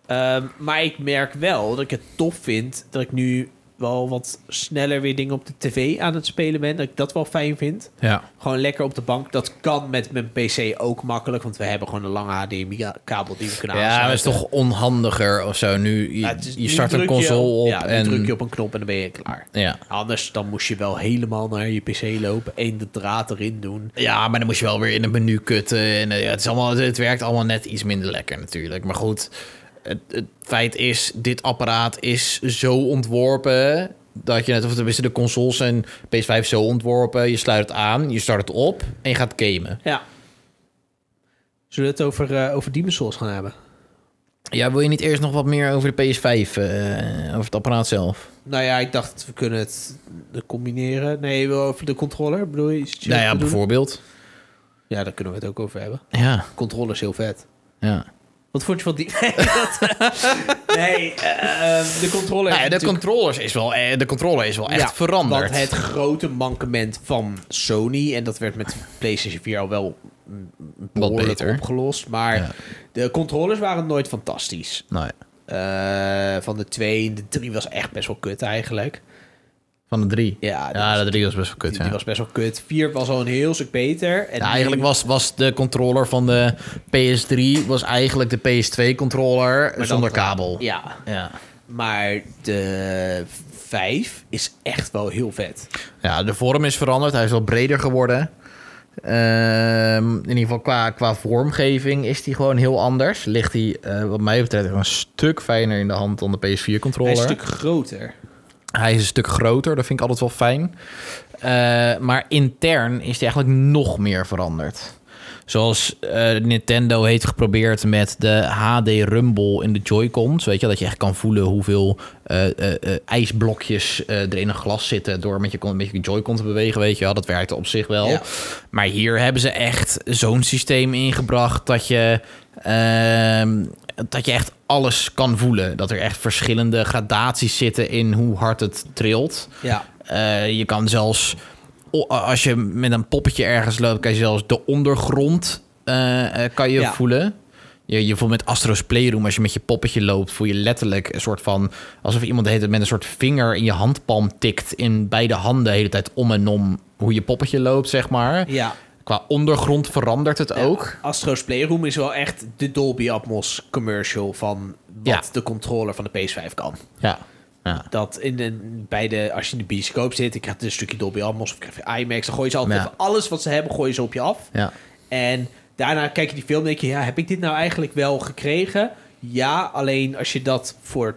Ehm, maar ik merk wel dat ik het tof vind dat ik nu wel wat sneller weer dingen op de tv aan het spelen ben. Dat ik dat wel fijn vind.
Ja.
Gewoon lekker op de bank. Dat kan met mijn PC ook makkelijk. Want we hebben gewoon een lange HDMI-kabel die we kunnen
Ja, maar het is toch onhandiger of zo. Nu, je,
Ja, het is-
je
nu
start een
druk je-
console op
ja, nu
en...
druk je op een knop en dan ben je klaar.
Ja.
Anders dan moest je wel helemaal naar je PC lopen. één de draad erin doen.
ja, maar dan moet je wel weer in een menu kutten. En, eh, ja, het, is allemaal, het werkt allemaal net iets minder lekker natuurlijk. Maar goed, het, het feit is, dit apparaat is zo ontworpen... Dat je net, of tenminste de consoles en PS5 zo ontworpen. Je sluit het aan, je start het op en je gaat gamen.
Ja. Zullen we het over, eh over Demon's Souls gaan hebben?
Ja, wil je niet eerst nog wat meer over de PS5, eh, over het apparaat zelf?
Nou ja, ik dacht we kunnen het eh, combineren. Nee, wel over de controller. Bedoel je? iets
nou ja,
te doen?
bijvoorbeeld.
Ja, daar kunnen we het ook over hebben.
Ja,
Controller is heel vet.
ja.
Wat vond je van die? Nee, dat- nee eh, ehm, de controller.
Nou ja,
is
de,
natuurlijk-
controllers is wel, eh, de controller is wel echt
Ja,
veranderd.
Want het grote mankement van Sony, en dat werd met PlayStation 4 al wel mm, behoorlijk
beter.
opgelost, maar
Ja.
de controllers waren nooit fantastisch.
Nee,
Eh, van de twee, de drie was echt best wel kut eigenlijk.
van de drie.
Ja, die
Ja,
was-
de drie was best wel kut.
die,
ja.
die was best wel kut. Vier was al een heel stuk beter. En
Ja, eigenlijk
nu-
was, was de controller van de PS3 was eigenlijk de PS2-controller
dan-
zonder kabel.
Ja,
Ja.
maar de vijf is echt wel heel vet.
Ja, de vorm is veranderd. Hij is wel breder geworden. Ehm, in ieder geval qua, qua vormgeving is die gewoon heel anders. Ligt hij, eh, wat mij betreft, een stuk fijner in de hand dan de
Hij
PS4-controller.
is een stuk groter.
Hij is een stuk groter, dat vind ik altijd wel fijn. Eh, maar intern is hij eigenlijk nog meer veranderd. Zoals eh, Nintendo heeft geprobeerd met de HD Rumble in de Joy-Cons. Weet je, dat je echt kan voelen hoeveel eh, eh, eh, ijsblokjes eh, er in een glas zitten. door met je, con- met je Joy-Con te bewegen. Weet je wel, dat werkte op zich wel.
Ja.
Maar hier hebben ze echt zo'n systeem ingebracht dat je. ehm, dat je echt alles kan voelen. Dat er echt verschillende gradaties zitten in hoe hard het trilt.
Ja.
Eh, je kan zelfs, o- als je met een poppetje ergens loopt, kan je zelfs de ondergrond eh, eh, kan je
Ja.
voelen. Je, je voelt met Astro's Playroom, als je met je poppetje loopt, voel je letterlijk een soort van... alsof iemand de hele tijd met een soort vinger in je handpalm tikt... in beide handen de hele tijd om en om hoe je poppetje loopt, zeg maar.
Ja.
Qua ondergrond verandert het ook.
Ja, Astro's Playroom is wel echt de Dolby Atmos commercial van wat
Ja.
de controller van de PS5 kan.
Ja. ja.
Dat in de, bij de, als je in de bioscoop zit, ik had een stukje Dolby Atmos of ik heb IMAX, dan gooien ze altijd
Ja.
even alles wat ze hebben, gooien ze op je af.
Ja.
En daarna kijk je die film en denk je, ja, heb ik dit nou eigenlijk wel gekregen? Ja, alleen als je dat voor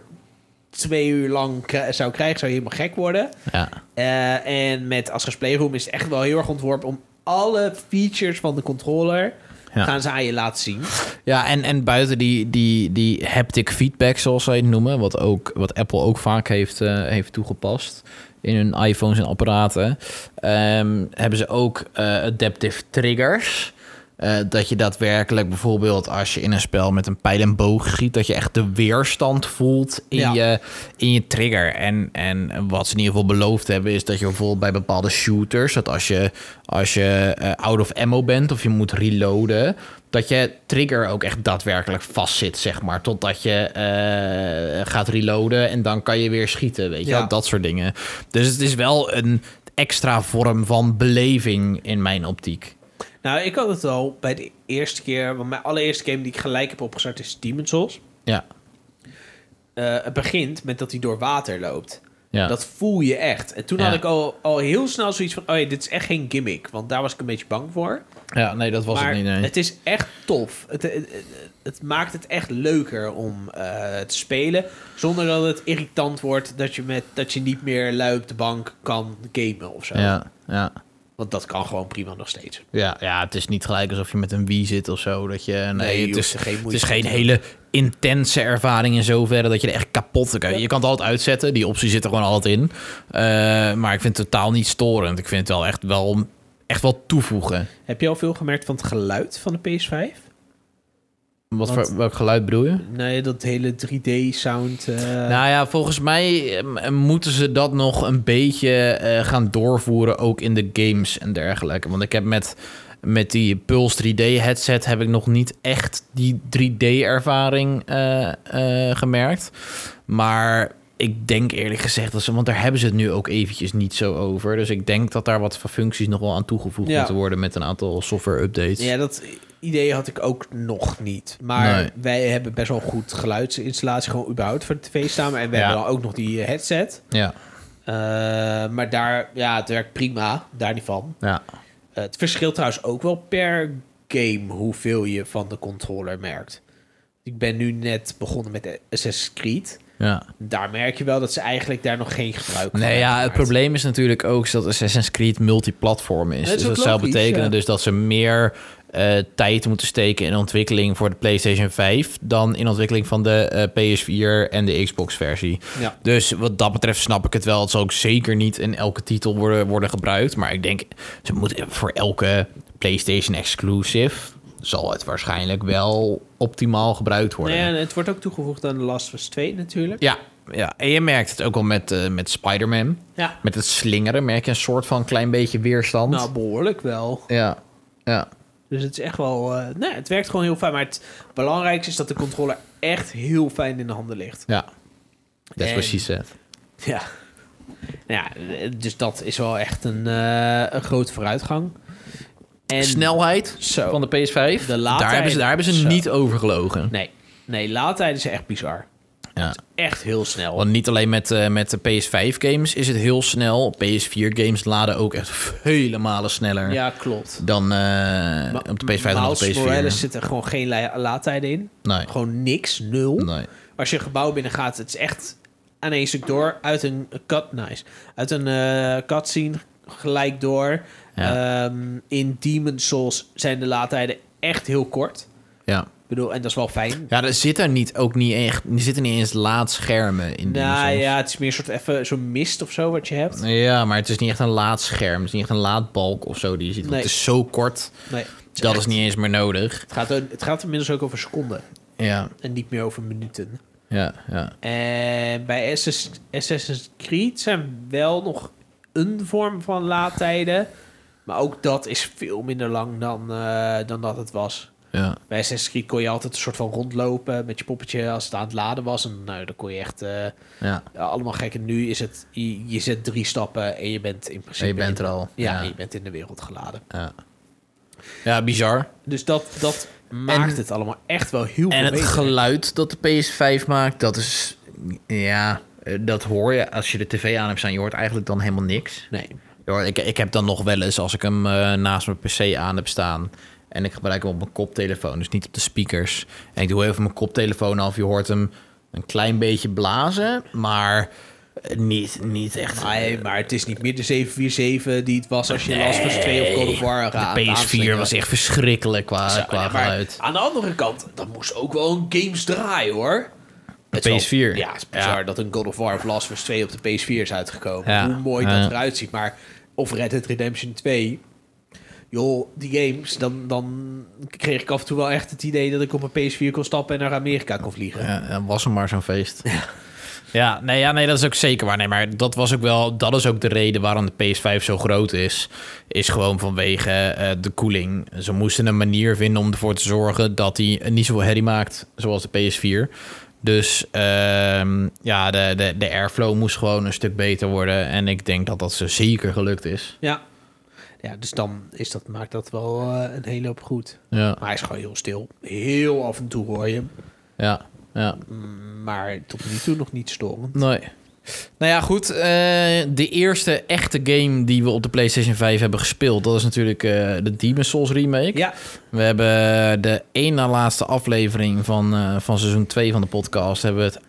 twee uur lang kri- zou krijgen, zou je helemaal gek worden.
Ja.
Eh, en met Astro's Playroom is het echt wel heel erg ontworpen om alle features van de controller
Ja.
gaan ze aan je laten zien.
Ja, en, en buiten die, die, die haptic feedback, zoals zij het noemen, wat, ook, wat Apple ook vaak heeft, eh, heeft toegepast in hun iPhones en apparaten, ehm, hebben ze ook eh, adaptive triggers. Eh, dat je daadwerkelijk bijvoorbeeld als je in een spel met een pijl en boog schiet, dat je echt de weerstand voelt in,
Ja.
je, in je trigger. En, en wat ze in ieder geval beloofd hebben, is dat je bijvoorbeeld bij bepaalde shooters, dat als je, als je eh, out of ammo bent of je moet reloaden, dat je trigger ook echt daadwerkelijk vastzit, zeg maar. Totdat je eh, gaat reloaden en dan kan je weer schieten, weet je
Ja.
wel. Dat soort dingen. Dus het is wel een extra vorm van beleving in mijn optiek.
Nou, ik had het al bij de eerste keer, want mijn allereerste game die ik gelijk heb opgestart is Demon's Souls.
Ja,
Eh, het begint met dat hij door water loopt.
ja.
Dat voel je echt. En toen
Ja.
had ik al, al heel snel zoiets van, oh ja, dit is echt geen gimmick, want daar was ik een beetje bang voor.
ja nee, dat was
maar
het niet. nee.
het is echt tof. Het, het, het- het maakt het echt leuker om eh, te spelen. Zonder dat het irritant wordt dat je, met, dat je niet meer lui op de bank kan gamen of zo.
ja, ja.
Want dat kan gewoon prima nog steeds.
Ja, ja, het is niet gelijk alsof je met een Wii zit of zo. Dat je, nee,
je
het,
hoeft
is,
er geen
het
moeite
is geen
te doen.
hele intense ervaring in zoverre dat je er echt kapot kan. Je kan het altijd uitzetten, die optie zit er gewoon altijd in. Eh, maar ik vind het totaal niet storend. Ik vind het wel echt wel, echt wel toevoegen.
Heb je al veel gemerkt van het geluid van de PS5?
Wat
Want-
voor, welk geluid bedoel je?
Nee, dat hele 3D-sound.
Nou ja, volgens mij eh, moeten ze dat nog een beetje eh, gaan doorvoeren, ook in de games en dergelijke. Want ik heb met, met die Pulse 3D headset heb ik nog niet echt die 3D ervaring eh, eh, gemerkt. Maar ik denk eerlijk gezegd dat ze, want daar hebben ze het nu ook eventjes niet zo over. Dus ik denk dat daar wat van functies nog wel aan toegevoegd
Ja.
moeten worden met een aantal software updates.
Ja, dat idee had ik ook nog niet. Maar
Nee.
wij hebben best wel een goed geluidsinstallatie gewoon überhaupt voor de tv staan. En we
Ja.
hebben dan ook nog die headset.
ja.
Eh, maar daar, ja, het werkt prima. Daar niet van.
ja.
Eh, het verschilt trouwens ook wel per game hoeveel je van de controller merkt. Ik ben nu net begonnen met Assassin's Creed.
ja.
Daar merk je wel dat ze eigenlijk daar nog geen gebruik van
Nee,
hebben
ja, het
gemaakt.
probleem is natuurlijk ook dat Assassin's Creed multiplatform is.
Dat
dus
is
dat
ook
zou
logisch,
betekenen
ja.
dus dat ze meer eh, tijd moeten steken in ontwikkeling voor de PlayStation 5 dan in ontwikkeling van de eh, PS4 en de Xbox-versie.
Ja.
Dus wat dat betreft snap ik het wel. Het zal ook zeker niet in elke titel worden, worden gebruikt. Maar ik denk, ze moeten voor elke PlayStation exclusive zal het waarschijnlijk wel optimaal gebruikt worden.
Nee, en het wordt ook toegevoegd aan The Last of Us 2 natuurlijk.
Ja, ja, en je merkt het ook al met, eh, met Spider-Man.
Ja.
Met het slingeren merk je een soort van klein beetje weerstand.
Nou, behoorlijk wel.
ja, ja.
Dus het is echt wel... eh, nee, het werkt gewoon heel fijn. Maar het belangrijkste is dat de controller echt heel fijn in de handen ligt.
ja. Dat is
En-
precies het.
Ja. Ja, dus dat is wel echt een, eh, een grote vooruitgang. En
Snelheid
Zo.
van de PS5.
De laadtijd.
daar hebben ze, daar hebben ze
Zo.
niet over gelogen.
Nee, nee laadtijden zijn echt bizar.
Ja.
Echt heel snel.
Want niet alleen met, eh, met de PS5-games is het heel snel. PS4-games laden ook echt vele malen sneller
ja, klopt.
dan eh,
Ma-
op de PS5 dan op de
Miles Morales
PS4.
zit er gewoon geen la- laadtijden in.
Nee.
Gewoon niks, nul.
nee.
Als je een gebouw binnen gaat, het is echt aan één stuk door. Uit een cut, nice. Uit een eh cutscene gelijk door.
Ja.
Ehm, in Demon's Souls zijn de laadtijden echt heel kort.
Ja.
Ik bedoel, en dat is wel fijn.
ja, er zit er niet, ook niet echt, er zitten niet eens laadschermen in. die
Nou
soms.
ja, het is meer soort even zo'n mist of zo wat je hebt.
Ja, maar het is niet echt een laadscherm. Het is niet echt een laadbalk of zo die je ziet. Want
Nee.
Het is zo kort,
Nee, het is
dat
echt-
is niet eens meer nodig.
Het gaat, ook- het gaat inmiddels ook over seconden
Ja,
en niet meer over minuten.
ja, ja.
En bij Assassin's- Assassin's Creed zijn wel nog een vorm van laadtijden. Maar ook dat is veel minder lang dan, eh, dan dat het was.
ja.
Bij Assassin's Creed kon je altijd een soort van rondlopen met je poppetje als het aan het laden was. En nou, dan kon je echt eh,
ja.
allemaal gek. En nu is het, je, je zet drie stappen en je bent in principe...
je bent
in-
er al.
Ja,
ja.
je bent in de wereld geladen.
ja. Ja, bizar.
Dus dat, dat maakt het allemaal echt wel heel veel
En het
beter.
geluid dat de PS5 maakt, dat is... Ja, eh, dat hoor je als je de tv aan hebt staan. Je hoort eigenlijk dan helemaal niks.
Nee,
Ja, hoor, ik, ik heb dan nog wel eens, als ik hem eh, naast mijn PC aan heb staan. En ik gebruik hem op mijn koptelefoon, dus niet op de speakers. En ik doe even mijn koptelefoon af. Je hoort hem een klein beetje blazen, maar eh, niet, niet echt.
Nee, maar het is niet meer de 747 die het was als je Last of Us 2 of God of War raad-
de PS4
aanslingerde.
was echt verschrikkelijk qua,
Zo,
qua
ja, maar
geluid.
Aan de andere kant, dat moest ook wel een games draaien hoor. Het is wel-
PS4.
ja, het is bizar
Ja.
dat een God of War of Last of Us 2 op de PS4 is uitgekomen.
Ja.
Hoe mooi dat
Ja.
eruit ziet. Maar of Red Dead Redemption 2... Joh, die games, dan, dan kreeg ik af en toe wel echt het idee dat ik op mijn PS4 kon stappen en naar Amerika kon vliegen.
Ja, dan was hem maar zo'n feest. Ja, nee, ja, nee, dat is ook zeker waar. Nee, maar dat was ook wel, dat is ook de reden waarom de PS5 zo groot is. Is gewoon vanwege eh, de koeling. Ze moesten een manier vinden om ervoor te zorgen dat hij niet zoveel herrie maakt zoals de PS4. Dus ehm, ja, de, de, de airflow moest gewoon een stuk beter worden. En ik denk dat dat ze zeker gelukt is.
Ja, ja dus dan is dat, maakt dat wel eh, een hele hoop goed.
Ja,
Maar hij is gewoon heel stil. Heel af en toe hoor je hem.
ja, ja.
Mm, Maar tot nu toe nog niet storend.
Nee. Nou ja, goed. eh, de eerste echte game die we op de PlayStation 5 hebben gespeeld... dat is natuurlijk eh, de Demon's Souls remake.
Ja,
We hebben de één na laatste aflevering van, eh, van seizoen 2 van de podcast... hebben we het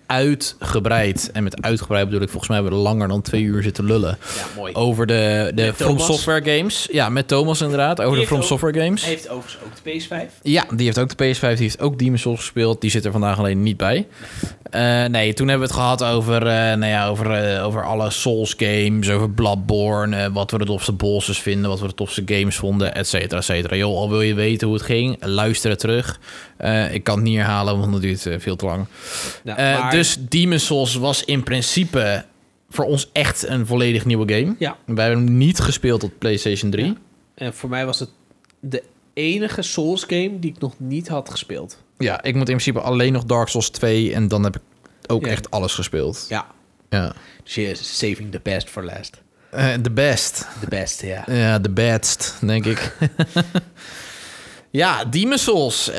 uitgebreid. En met uitgebreid bedoel ik volgens mij hebben we langer dan twee uur zitten lullen...
ja mooi.
over de, de
Met
From
Thomas.
Software games. Ja, met Thomas inderdaad, over
Die
de
heeft
From
ook-
Software games.
Hij heeft overigens ook de PS5.
Ja, die heeft ook de PS5, die heeft ook Demon's Souls gespeeld. Die zit er vandaag alleen niet bij. Eh, nee, toen hebben we het gehad over, eh, nou ja, over, eh, over alle Souls games, over Bloodborne, eh, wat we de tofste bosses vinden, wat we de tofste games vonden, et cetera, et cetera. Joh, al wil je weten hoe het ging, luister het terug. Eh, ik kan het niet herhalen, want dat duurt eh, veel te lang.
Nou,
Eh,
maar-
Dus Demon's Souls was in principe voor ons echt een volledig nieuwe game.
Ja,
Wij hebben hem niet gespeeld op PlayStation 3.
Ja. en voor mij was het de enige Souls game die ik nog niet had gespeeld.
Ja, ik moet in principe alleen nog Dark Souls 2 en dan heb ik ook
Ja.
echt alles gespeeld.
Ja.
Ja.
Dus je is saving the best for last.
Eh, the best.
The best, ja.
Ja, de badst, denk ik. ja, Demon Souls. Eh,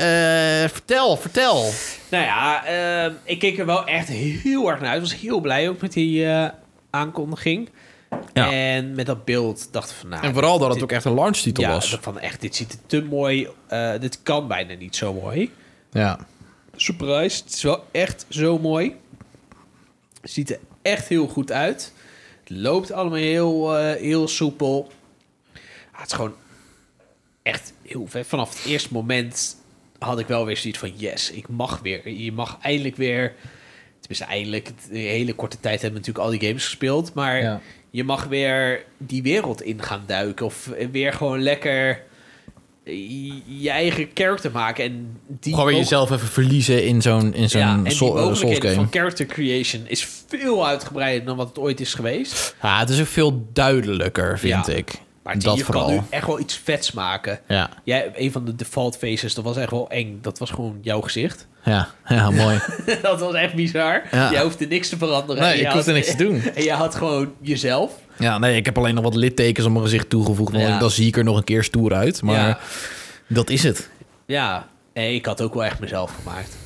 vertel, vertel.
Nou ja, ehm, ik keek er wel echt heel erg naar uit. Ik was heel blij ook met die eh, aankondiging.
Ja.
En met dat beeld dacht ik van... Nou,
En vooral dat het
dit-
ook echt een launch titel
ja,
was.
dat van echt, dit ziet er te mooi... eh, dit kan bijna niet zo mooi.
Ja.
Surprise, het is wel echt zo mooi. Ziet er echt heel goed uit. Het loopt allemaal heel, eh, heel soepel. Ah, het is gewoon echt heel vet. Vanaf het eerste moment had ik wel weer zoiets van... Yes, ik mag weer. Je mag eindelijk weer... Tenminste, eindelijk. Een hele korte tijd hebben we natuurlijk al die games gespeeld. Maar
Ja.
je mag weer die wereld in gaan duiken. Of weer gewoon lekker je- je eigen character maken. En die
Gewoon weer
mogelijk-
jezelf even verliezen in zo'n in zo'n
ja, en
Soul-
die
eh, Souls
mogelijkheden
game.
van character creation is veel uitgebreider dan wat het ooit is geweest.
Ja, het is ook veel duidelijker, vind
Ja.
ik.
Maar
dat
je
vooral.
kan nu echt wel iets vets maken.
Ja,
Jij, een van de default faces, dat was echt wel eng. Dat was gewoon jouw gezicht.
ja, ja, mooi.
dat was echt bizar.
Ja.
Jij hoefde niks te veranderen.
Nee,
En je
ik hoefde
had-
niks te doen.
En je had gewoon jezelf.
Ja, nee, ik heb alleen nog wat littekens op mijn gezicht toegevoegd. want
Ja.
Dan zie ik er nog een keer stoer uit. Maar
Ja.
dat is het.
ja. En ik had ook wel echt mezelf gemaakt.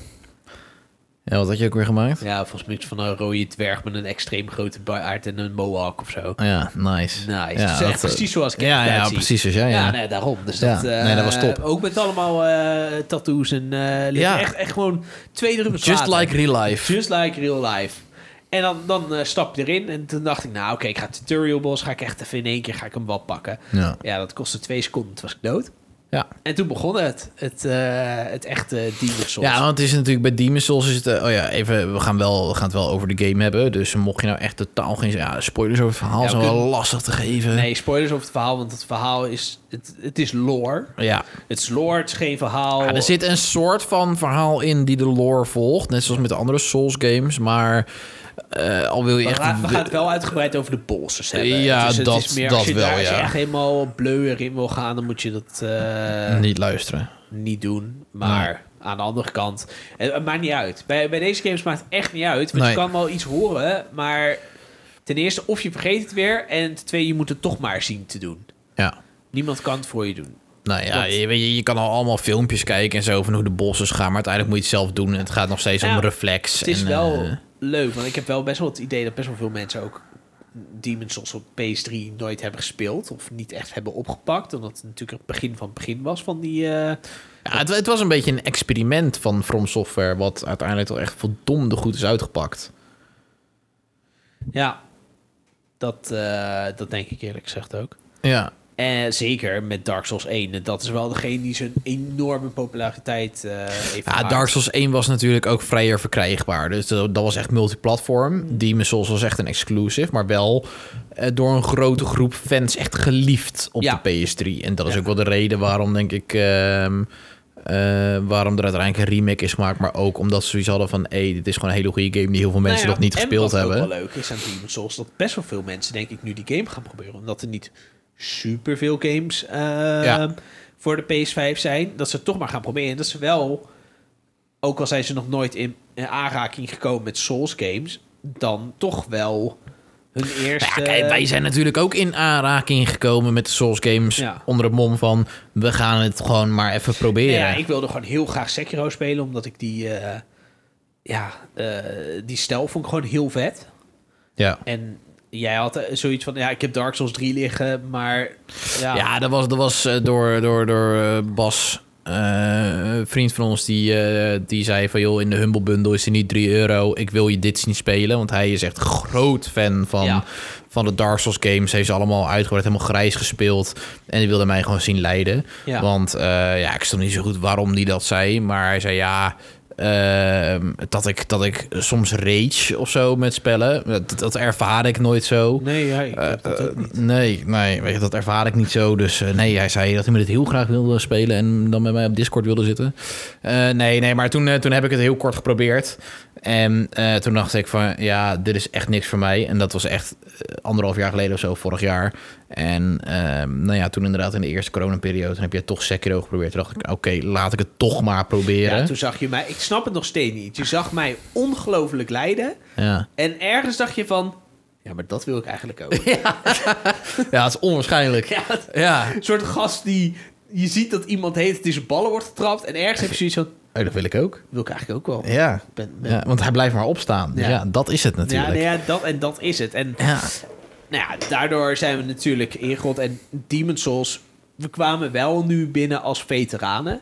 Ja, wat had je ook weer gemaakt?
Ja, volgens mij iets van een rode dwerg met een extreem grote baard en een mohawk of zo.
Ja, nice.
Nice. Dus
Ja, eh,
Het is echt precies zoals ik
ja,
het
ja,
uitzie.
precies zoals jij.
Ja,
Ja, ja.
nee, daarom. Dus
Ja,
dat, eh,
nee, dat was top.
Ook met allemaal eh, tattoos en eh
Ja.
ja. echt, echt gewoon twee druppels
eh, Just
water.
like real life.
Just like real life. En dan, dan eh, stap je erin en toen dacht ik, nou oké, ik ga tutorial boss, ga ik echt even in één keer ga ik hem wel pakken.
Ja.
Ja, dat kostte twee seconden, toen was ik dood.
Ja.
En toen begon het, het, eh, het echte Demon's Souls.
Ja, want het is natuurlijk bij Demon's Souls is het... eh, oh ja, even, we gaan, wel, we gaan het wel over de game hebben. Dus mocht je nou echt totaal geen... Ja, spoilers over het verhaal
Ja, we
zijn wel
kunnen-
lastig te geven.
Nee, spoilers over het verhaal, want het verhaal is, het, het is lore.
Ja.
Het is lore, het is geen verhaal.
Ja, er zit een soort van verhaal in die de lore volgt. Net zoals met de andere Souls games. Maar eh, al wil je
We
echt...
gaan, we gaan het wel uitgebreid over de bolsters hebben. Dus
Ja,
het is,
dat-
het is meer,
dat
als je
wel,
daar, Als
ja.
je echt helemaal bleuer in wil gaan, dan moet je dat eh,
niet luisteren.
niet doen. Maar aan de andere kant, eh, het, het maakt niet uit. Bij, bij deze games maakt het echt niet uit. Want
Nee.
je kan wel iets horen, maar ten eerste of je vergeet het weer. En ten tweede, je moet het toch maar zien te doen.
Ja.
Niemand kan het voor je doen.
Nou ja,
Dat-
je, weet je, je kan al allemaal filmpjes kijken en zo van hoe de bossen gaan. Maar uiteindelijk moet je het zelf doen. En het gaat nog steeds
Ja,
om reflex.
Het is
en,
wel
eh,
leuk, want ik heb wel best wel het idee dat best wel veel mensen ook Demon's Souls op PS3 nooit hebben gespeeld of niet echt hebben opgepakt, omdat het natuurlijk het begin van het begin was van die. eh,
ja, het, het was een beetje een experiment van From Software. Wat uiteindelijk toch echt verdomde goed is uitgepakt.
ja, dat, eh, dat denk ik eerlijk gezegd ook.
Ja.
En zeker met Dark Souls 1. En dat is wel degene die zijn enorme populariteit eh heeft.
Ja,
gemaakt.
Dark Souls 1 was natuurlijk ook vrijer verkrijgbaar. Dus dat, dat was echt multiplatform.
Mm.
Demon's Souls was echt een exclusive, maar wel eh, door een grote groep fans echt geliefd op
Ja.
de PS3. En dat is
Ja.
ook wel de reden waarom, denk ik, ehm, eh, waarom er uiteindelijk een remake is gemaakt. Maar ook omdat ze zoiets hadden van, hé, dit is gewoon een hele goede game die heel veel mensen
Nou ja,
nog niet
en
gespeeld
wat ook
hebben.
wel leuk is aan Demon's Souls dat best wel veel mensen, denk ik, nu die game gaan proberen. Omdat er niet superveel games eh,
Ja.
voor de PS5 zijn. Dat ze het toch maar gaan proberen. En dat ze wel, ook al zijn ze nog nooit in, in aanraking gekomen met Souls games, dan toch wel hun
Nou
eerste.
ja, kijk, wij zijn natuurlijk ook in aanraking gekomen met de Souls games
Ja.
onder het mom van, we gaan het gewoon maar even proberen.
Nou ja, ik wilde gewoon heel graag Sekiro spelen, omdat ik die. eh, ja, eh, die stijl vond ik gewoon heel vet.
ja.
En jij had eh, zoiets van, ja, ik heb Dark Souls 3 liggen, maar ja,
Ja, dat was, dat was eh, door, door, door eh, Bas, eh, een vriend van ons, die, eh, die zei van... joh, in de Humble Bundle is hij niet 3 euro. Ik wil je dit zien spelen. Want hij is echt groot fan van,
Ja.
van de Dark Souls games. Heeft ze allemaal uitgebreid, helemaal grijs gespeeld. En die wilde mij gewoon zien leiden.
Ja.
Want eh, ja, ik stond niet zo goed waarom die dat zei. Maar hij zei ja... ehm, dat, ik, dat ik soms rage of zo met spellen. Dat, dat ervaar ik nooit zo.
nee, ja, ik heb dat ook
Eh,
niet.
Nee, nee weet je, dat ervaar ik niet zo. Dus eh, nee, hij zei dat hij me dit heel graag wilde spelen en dan met mij op Discord wilde zitten. Eh, nee, nee, maar toen, eh, toen heb ik het heel kort geprobeerd. En eh, toen dacht ik van, ja, dit is echt niks voor mij. En dat was echt eh, anderhalf jaar geleden of zo, vorig jaar. En ehm, nou ja, toen inderdaad in de eerste coronaperiode... toen heb jij toch Sekiro geprobeerd. Toen dacht ik, oké, laat ik het toch maar
Ja,
proberen.
toen zag je mij... Ik snap het nog steeds niet. Je zag mij ongelooflijk lijden.
Ja.
En ergens dacht je van... Ja, maar dat wil ik eigenlijk ook.
Ja, het is onwaarschijnlijk.
Ja, het-
Ja.
een soort gast die... Je ziet dat iemand heet die zijn ballen wordt getrapt. En ergens heb je zoiets van...
Oh, dat wil ik ook.
Wil ik eigenlijk ook wel.
Ja.
Ik Ben, ben-
ja want hij blijft maar opstaan. Dus
Ja.
ja, dat is het
ja,
natuurlijk.
nou ja, dat, en dat is het. En
ja.
nou ja, daardoor zijn we natuurlijk ingerold. En Demon's Souls... We kwamen wel nu binnen als veteranen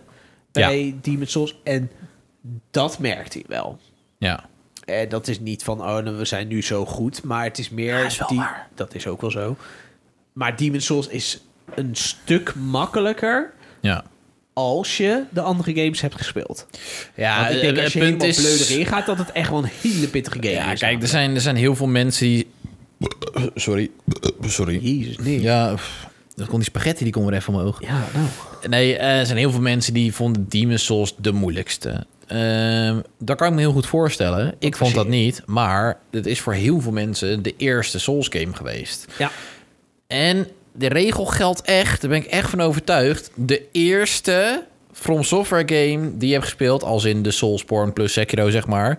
bij Demon's Souls. En dat merkte hij wel.
ja.
Eh, dat is niet van, oh, nou, we zijn nu zo goed. Maar het is meer...
Ja, is wel
die-
waar.
Dat is ook wel zo. Maar Demon's Souls is een stuk makkelijker
Ja.
als je de andere games hebt gespeeld.
Ja, eh,
Want ik denk
het-
eh, als je
het punt
helemaal
is-
bleuder ingaat, dat het echt wel een hele pittige game
Ja,
is.
kijk, er zijn, er zijn heel veel mensen die... Sorry. Sorry.
Jezus, nee. Ja,
Ja, pff, dan kon die spaghetti die kon weer even omhoog.
nou.
Nee, eh, er zijn heel veel mensen die vonden Demon's Souls de moeilijkste. Ehm dat kan ik me heel goed voorstellen. Ik vond dat niet, maar het is voor heel veel mensen de eerste Souls game geweest.
Ja,
En de regel geldt echt, daar ben ik echt van overtuigd. De eerste From Software game die je hebt gespeeld, als in de Soulsborne plus Sekiro, zeg maar,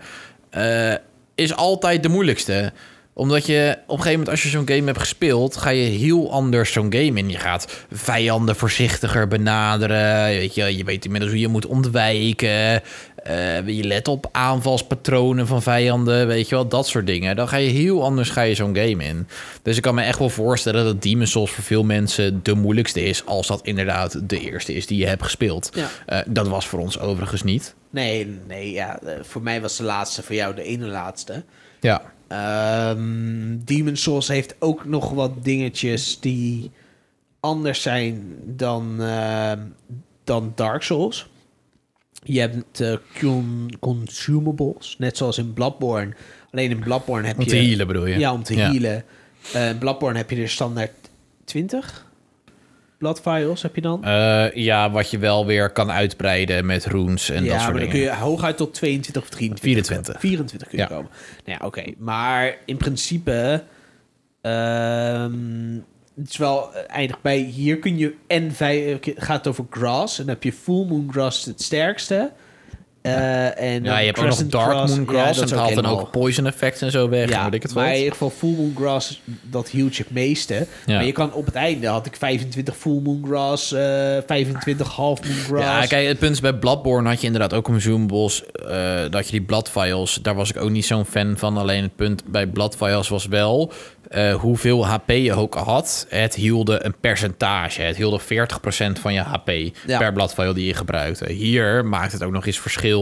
eh, is altijd de moeilijkste. Omdat je op een gegeven moment, als je zo'n game hebt gespeeld, ga je heel anders zo'n game in. Je gaat vijanden voorzichtiger benaderen. Je weet, je, je weet inmiddels hoe je moet ontwijken. Eh, je let op aanvalspatronen van vijanden, weet je wel, dat soort dingen. Dan ga je heel anders ga je zo'n game in. Dus ik kan me echt wel voorstellen dat Demon's Souls voor veel mensen de moeilijkste is, als dat inderdaad de eerste is die je hebt gespeeld.
Ja.
Eh, dat was voor ons overigens niet.
nee, nee, ja. eh, Voor mij was de laatste, voor jou de ene laatste.
Ja,
Ehm Demon's Souls heeft ook nog wat dingetjes die anders zijn dan, ehm, dan Dark Souls. Je hebt eh, con- consumables, net zoals in Bloodborne. Alleen in Bloodborne heb
om
je...
te healen bedoel je?
Ja, om te healen. Eh, in Bloodborne heb je er standaard 20 bloodvials heb je dan.
Eh, ja, wat je wel weer kan uitbreiden met runes en
ja,
dat
maar
soort
dan
dingen.
kun je hooguit tot 22 of 23.
24.
24 kun je
Ja.
komen. Nou ja, oké. Maar in principe... ehm, het is wel eh, eindig bij... Hier kun je... En vij- eh, gaat het over grass. En dan heb je full moon grass het sterkste. Eh, en
Ja,
dan
je hebt ook nog
crescent
Dark Moon
Ja, dat
Grass.
is
en het haalt dan
helemaal-
ook poison effects en zo weg.
ja,
en weet ik het
maar in
wat.
ieder geval Full Moon Grass, dat hield je het meeste. Maar je kan op het einde, had ik 25 Full Moon Grass, eh, 25 Half Moon Grass.
Ja, kijk, het punt is bij Bloodborne had je inderdaad ook consumables. eh dat je die bloodvials, daar was ik ook niet zo'n fan van. Alleen het punt bij bloodvials was wel eh, hoeveel HP je ook had. Het hielde een percentage. Het hielde 40% van je HP
Ja.
per bloodvial die je gebruikte. Hier maakt het ook nog eens verschil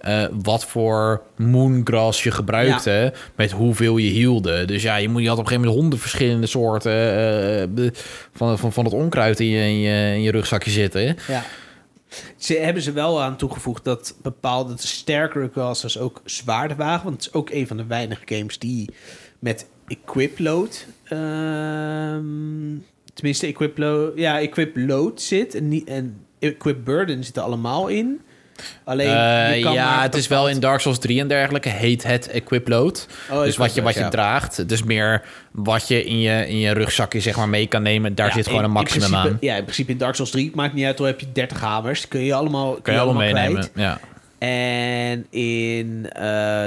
eh, wat voor moongrass je gebruikte met hoeveel je hielde. Dus ja, je, moet, je had op een gegeven moment honderd verschillende soorten eh, eh, van, van, van het onkruid in je, in je, in je rugzakje zitten.
Ja. Ze hebben ze wel aan toegevoegd dat bepaalde sterkere classes ook zwaarder waren. Want het is ook een van de weinige games die met equip load. ehm, tenminste, equip load, ja, equip load zit. En, niet, en equip burden zit er allemaal in. Alleen,
Eh,
je kan
ja,
maar
het is wel in Dark Souls 3 en dergelijke heet het equip load.
Oh,
dus wat je, wat je
ja.
draagt. Het is meer wat je in je, in je rugzakje zeg maar mee kan nemen. Daar
Ja,
zit gewoon
in-
een maximum
in principe,
aan.
Ja, in principe in Dark Souls 3 maakt niet uit, al heb je 30 hamers. die Kun je allemaal, kun
Kun je allemaal
kwijt.
meenemen. Ja.
En in eh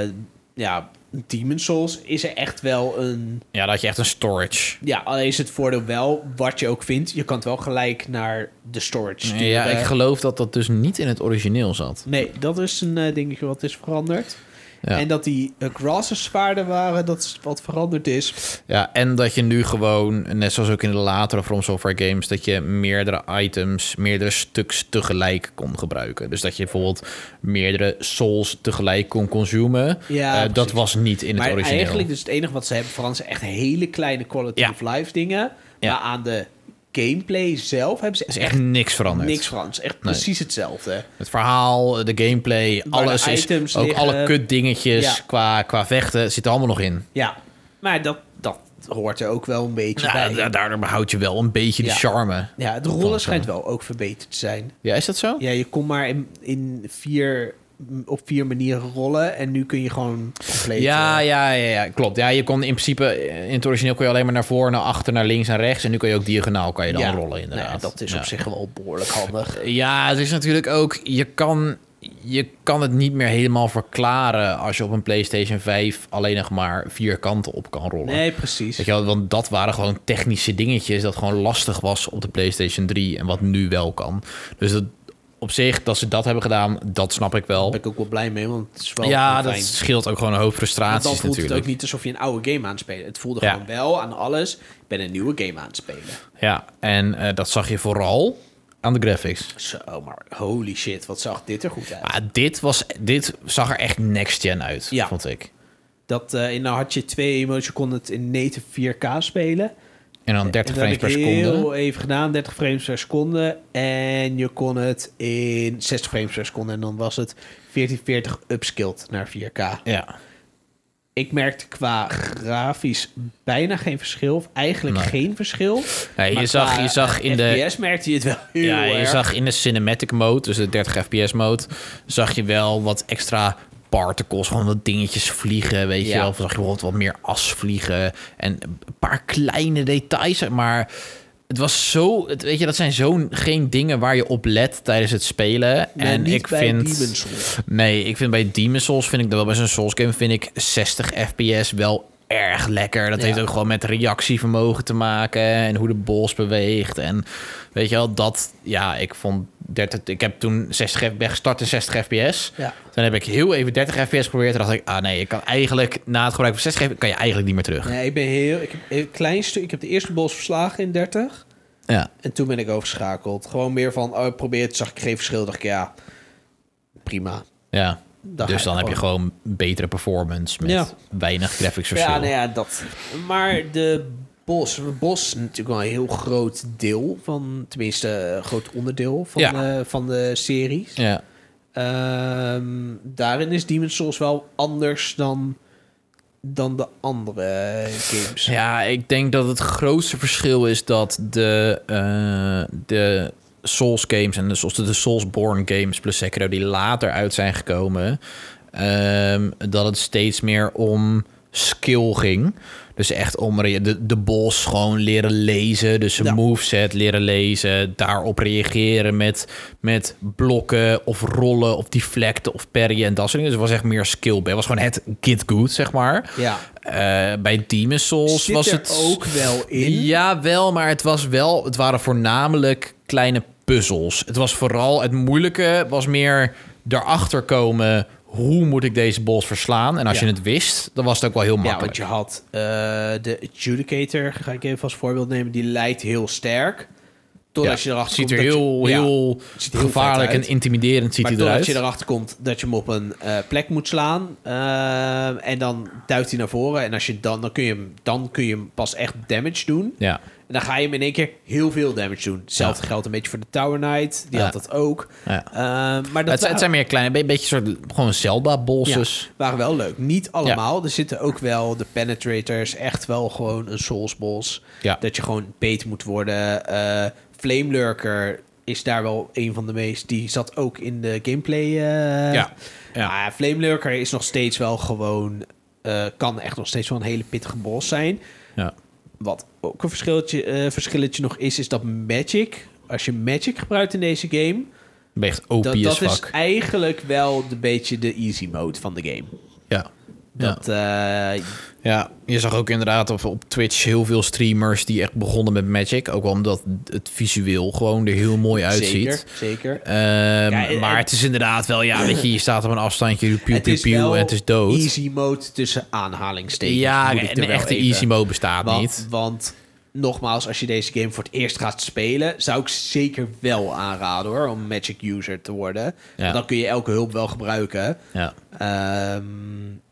ja, Demon's Souls is er echt wel een...
ja, dan had je echt een storage.
Ja, alleen is het voordeel wel wat je ook vindt. Je kan het wel gelijk naar de storage sturen.
Ja, ik geloof dat dat dus niet in het origineel zat.
Nee, dat is een eh, dingetje wat is veranderd.
Ja.
En dat die eh, grasses zwaarder waren, dat is wat veranderd is.
Ja, en dat je nu gewoon, net zoals ook in de latere From Software games, dat je meerdere items, meerdere stuks tegelijk kon gebruiken. Dus dat je bijvoorbeeld meerdere souls tegelijk kon consumen.
Ja,
Eh, dat
precies.
was niet in het
maar
origineel.
eigenlijk dus het enige wat ze hebben veranderd... zijn echt hele kleine quality
Ja.
of life dingen.
Ja.
Maar aan de gameplay zelf hebben ze
is
echt
echt niks veranderd.
niks veranderd. Het is Echt
Nee.
precies hetzelfde.
Het verhaal, de gameplay,
Waar
alles
de
is...
items
ook
liggen.
alle kutdingetjes
Ja.
qua, qua vechten zit er allemaal nog in.
Ja, maar dat, dat hoort er ook wel een beetje
Nou,
bij.
da- daardoor behoud je wel een beetje
Ja.
de charme.
Ja, de rollen schijnt wel ook verbeterd te zijn.
Ja, is dat zo?
Ja, je kon maar in, in vier op vier manieren rollen. En nu kun je gewoon compleet...
Ja,
eh,
ja, ja, ja, klopt. Ja, je kon in principe, eh, in het origineel kon je alleen maar naar voren, naar achter, naar links en rechts. En nu kun je ook diagonaal kan je dan
ja.
rollen, inderdaad.
Nou ja, dat is
Ja.
op zich wel behoorlijk handig.
Ja, het is natuurlijk ook, je kan, je kan het niet meer helemaal verklaren als je op een PlayStation 5 alleen nog maar vier kanten op kan rollen.
Nee, precies.
Weet je wel, want dat waren gewoon technische dingetjes dat gewoon lastig was op de PlayStation 3 en wat nu wel kan. Dus dat, op zich, dat ze dat hebben gedaan, dat snap ik wel.
Daar ben ik ook wel blij mee, want het is wel
Ja,
heel
dat
fijn.
scheelt ook gewoon een hoop
Want
frustraties
dan voelt het
natuurlijk.
ook niet alsof je een oude game aan het spelen. Het voelde
Ja.
gewoon wel aan alles. Ik ben een nieuwe game aan het spelen.
Ja, en eh, dat zag je vooral aan de graphics.
Zo, maar holy shit, wat zag dit er goed uit.
Maar dit, was, dit zag er echt next-gen uit,
Ja.
vond ik.
Dat, eh, en nou had je twee emoties, je kon het in native 4K spelen.
En dan 30
En dat heb
frames
ik
per seconde.
heel even gedaan, 30 frames per seconde. En je kon het in 60 frames per seconde. En dan was het 1440 upskilled naar 4K.
Ja,
Ik merkte qua grafisch bijna geen verschil. Of eigenlijk
Nee.
geen verschil.
Ja, je
Maar
zag-
qua
je zag in de-
FPS merkte je het wel heel
ja je
erg.
zag in de cinematic mode, dus de 30 fps mode, zag je wel wat extra particles, gewoon wat dingetjes vliegen, weet je
Ja.
wel. Of zag je bijvoorbeeld wat meer as vliegen en een paar kleine details, maar... Het was zo, het, weet je, dat zijn zo'n geen dingen waar je op let tijdens het spelen.
Maar
en
niet
ik
bij
vind.
Demon's Souls.
Nee, ik vind bij Demon Souls vind ik dat wel bij zo'n Souls game vind ik 60 FPS wel erg lekker. Dat
Ja.
heeft ook gewoon met reactievermogen te maken en hoe de boss beweegt en weet je wel dat ja, ik vond 30 ik heb toen 60 F- ben gestart in 60 FPS.
Ja.
Dan heb ik heel even 30 FPS geprobeerd en dacht ik ah nee, ik kan eigenlijk na het gebruik van 60 FPS kan je eigenlijk niet meer terug.
Nee, ik ben heel... Ik heb een klein stuk... Ik heb de eerste boss verslagen in 30.
Ja.
En toen ben ik overschakeld. Gewoon meer van, oh, ik probeer het, zag ik geen verschil. dacht ik, ja, prima.
Ja.
Dan ga
dus
je
dan heb je gewoon betere performance met
Ja.
weinig graphics verschil.
Ja, nou ja, dat. Maar de bos, de bos is natuurlijk wel een heel groot deel van, tenminste, een groot onderdeel van,
Ja.
de, van de series.
ja.
Ehm, daarin is Demon's Souls wel anders dan, dan de andere games.
Ja, ik denk dat het grootste verschil is dat de, eh, de Souls games en de, Souls- de Soulsborne games plus Sekiro die later uit zijn gekomen, ehm, dat het steeds meer om skill ging. Dus echt om re- de, de boss gewoon leren lezen. Dus zijn
Ja.
moveset leren lezen. Daarop reageren met, met blokken of rollen of deflecten of parryen en dat soort dingen. Dus het was echt meer skill. Het was gewoon het get good, zeg maar.
Ja.
Eh, bij Demon's Souls
Zit
was
er
het
ook wel in?
Ja, wel, maar het was wel. Het waren voornamelijk kleine puzzels. Het was vooral het moeilijke was meer erachter komen. Hoe moet ik deze boss verslaan? En als
Ja.
je het wist, dan was het ook wel heel
Ja,
makkelijk.
want je had eh, de Adjudicator, ga ik even als voorbeeld nemen, die lijkt heel sterk. Totdat
Ja,
je erachter
ziet er
komt dat je-
heel,
ja,
heel
ziet er heel
gevaarlijk
vet
en
uit.
intimiderend ziet
maar
hij
totdat
eruit.
je erachter komt dat je hem op een eh, plek moet slaan. eh, en dan duikt hij naar voren. En als je dan, dan, kun je hem, dan kun je hem pas echt damage doen.
Ja,
En dan ga je hem in één keer heel veel damage doen. Hetzelfde
Ja.
geldt een beetje voor de Tower Knight. Die
Ja.
had dat ook.
Ja.
Eh, maar dat
het, het zijn meer kleine, een beetje soort gewoon Zelda-bosses.
ja, waren wel leuk. Niet allemaal. Er zitten ook wel de penetrators. Echt wel gewoon een soulsboss.
Ja.
Dat je gewoon beet moet worden. Eh Flame Lurker is daar wel een van de meest. Die zat ook in de gameplay. eh.
Ja. Ja.
Maar ja, Flame Lurker is nog steeds wel gewoon... eh, kan echt nog steeds wel een hele pittige boss zijn.
Ja.
Wat ook een verschilletje, eh, verschilletje nog is, is dat Magic... Als je Magic gebruikt in deze game...
Ben je echt OP
Dat,
as
dat is
fuck.
eigenlijk wel een beetje de easy mode van de game.
Ja. ja.
Dat, eh,
Ja, je zag ook inderdaad op, op Twitch heel veel streamers die echt begonnen met Magic. Ook wel omdat het visueel gewoon er heel mooi uitziet.
Zeker, zeker.
Ehm,
en-
maar het is inderdaad wel, ja, weet je, je staat op een afstandje, je doet piu,
Het
piu,
is
piu
wel
en het is dood.
easy mode tussen aanhalingstekens.
ja,
moet ik er
een
wel
echte
even-
easy mode bestaat
want,
niet.
Want nogmaals, als je deze game voor het eerst gaat spelen... zou ik zeker wel aanraden hoor, om Magic User te worden. Want Dan kun je elke hulp wel gebruiken.
Ja.
Ehm,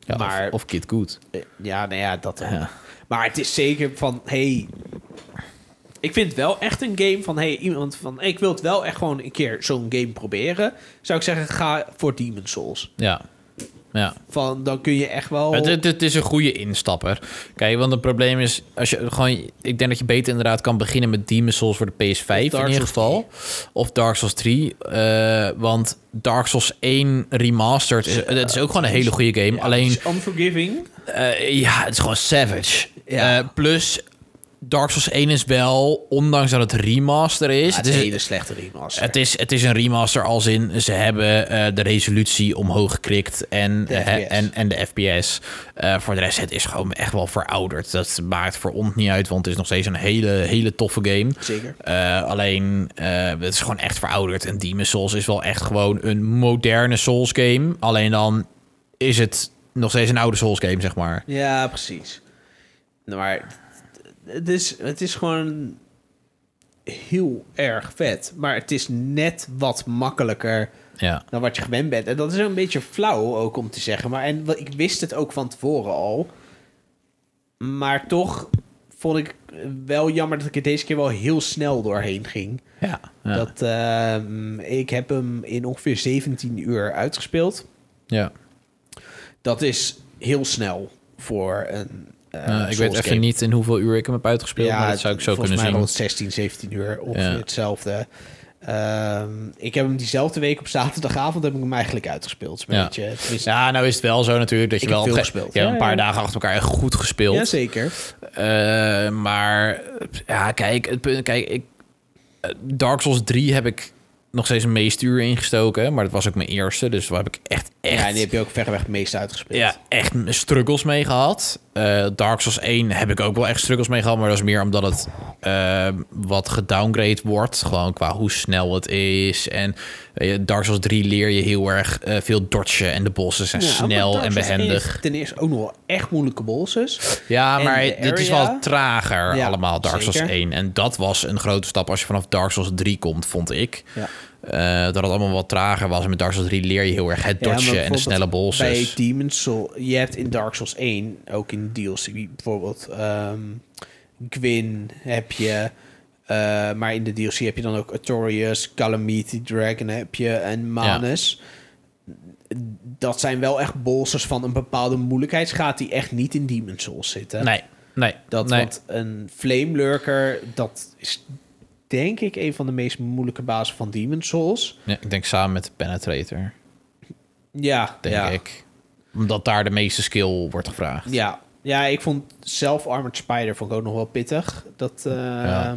Ja,
maar
Of, of Kid Good.
eh, ja, nou ja, dat...
Ja.
Maar het is zeker van, hey... Ik vind het wel echt een game van, hey, iemand van... hey, ik wil het wel echt gewoon een keer zo'n game proberen. Zou ik zeggen, ga voor Demon's Souls.
Ja. Ja.
Van, dan kun je echt wel...
Het, het, het is een goede instapper. Kijk, want het probleem is, als je gewoon, ik denk dat je beter inderdaad kan beginnen met Demon's Souls voor de PS5
Of Dark
in
Souls
ieder geval. Of Dark Souls 3. eh, want Dark Souls 1 Remastered, is, dat is ook gewoon een hele goede game.
Ja,
Alleen,
het is Unforgiving.
eh, ja, het is gewoon savage.
Ja.
Eh, plus, Dark Souls 1 is wel, ondanks dat het remaster is...
Ja, het is een hele slechte remaster.
Het is, het is een remaster als in ze hebben eh, de resolutie omhoog gekrikt en
De
eh,
FPS.
en, en de FPS. Eh, voor de rest, het is gewoon echt wel verouderd. Dat maakt voor ons niet uit, want het is nog steeds een hele, hele toffe game.
Zeker.
Eh, alleen, eh, het is gewoon echt verouderd. En Demon's Souls is wel echt gewoon een moderne Souls game. Alleen dan is het nog steeds een oude Souls game, zeg maar.
Ja, precies. Nou, Maar het is, het is gewoon heel erg vet. Maar het is net wat makkelijker
Ja.
dan wat je gewend bent. En dat is een beetje flauw ook om te zeggen. Maar en wat- ik wist het ook van tevoren al. Maar toch vond ik wel jammer dat ik er deze keer wel heel snel doorheen ging.
Ja. Ja.
Dat, ehm, ik heb hem in ongeveer 17 uur uitgespeeld.
ja.
Dat is heel snel voor een. eh,
Eh, ik weet
Souls
even
game.
niet in hoeveel uur ik hem heb uitgespeeld, maar dat zou ik zo
volgens
kunnen zien.
mij rond 16, 17 uur ongeveer
Ja.
hetzelfde. Ehm, ik heb hem diezelfde week op zaterdagavond heb ik hem eigenlijk uitgespeeld. Is een
Ja.
beetje, tenminste,
Ja, nou is het wel zo natuurlijk dat je
Ik heb
wel
veel
op-
gespeeld.
Je hebt
Ja,
een paar
ja.
dagen achter elkaar echt goed gespeeld.
Jazeker.
Eh, maar eh, ja, kijk, het punt, kijk, ik, eh, Dark Souls 3 heb ik nog steeds een meeste uur ingestoken, maar dat was ook mijn eerste, dus daar heb ik echt echt
Ja, en die heb je ook verreweg het meest uitgespeeld.
ja, echt struggles mee gehad. Eh, Dark Souls 1 heb ik ook wel echt struggles mee gehad. Maar dat is meer omdat het eh, wat gedowngrade wordt. Gewoon qua hoe snel het is. En weet je, Dark Souls 3 leer je heel erg eh, veel dodgen. En de bossen zijn
Ja, maar
snel
Dark
en
Souls
behendig.
is Ten eerste ook nog wel echt moeilijke bosses.
Ja,
En
maar
de
het is
area?
wel trager
Ja,
allemaal, Dark Souls
zeker.
1. En dat was een grote stap als je vanaf Dark Souls 3 komt, vond ik.
Ja.
Eh, dat het allemaal wat trager was. En met Dark Souls 3 leer je heel erg het
Ja, maar
dodgen en de
bijvoorbeeld
snelle bosses.
Bij Demon's Soul, je hebt in Dark Souls 1, ook in DLC bijvoorbeeld, ehm Gwyn heb je, eh, maar in de DLC heb je dan ook Artorias, Calamity Dragon heb je en Manus. Dat zijn wel echt bolsters van een bepaalde moeilijkheidsgraad die echt niet in Demon's Souls zitten.
Nee, nee.
Dat,
nee.
Want een Flame Lurker, dat is denk ik een van de meest moeilijke bazen van Demon's Souls.
Ja, ik denk samen met de Penetrator,
Ja,
denk
ja.
ik. Omdat daar de meeste skill wordt gevraagd.
Ja, ja ik vond zelf Armored Spider vond ik ook nog wel pittig. Dat, eh,
Ja.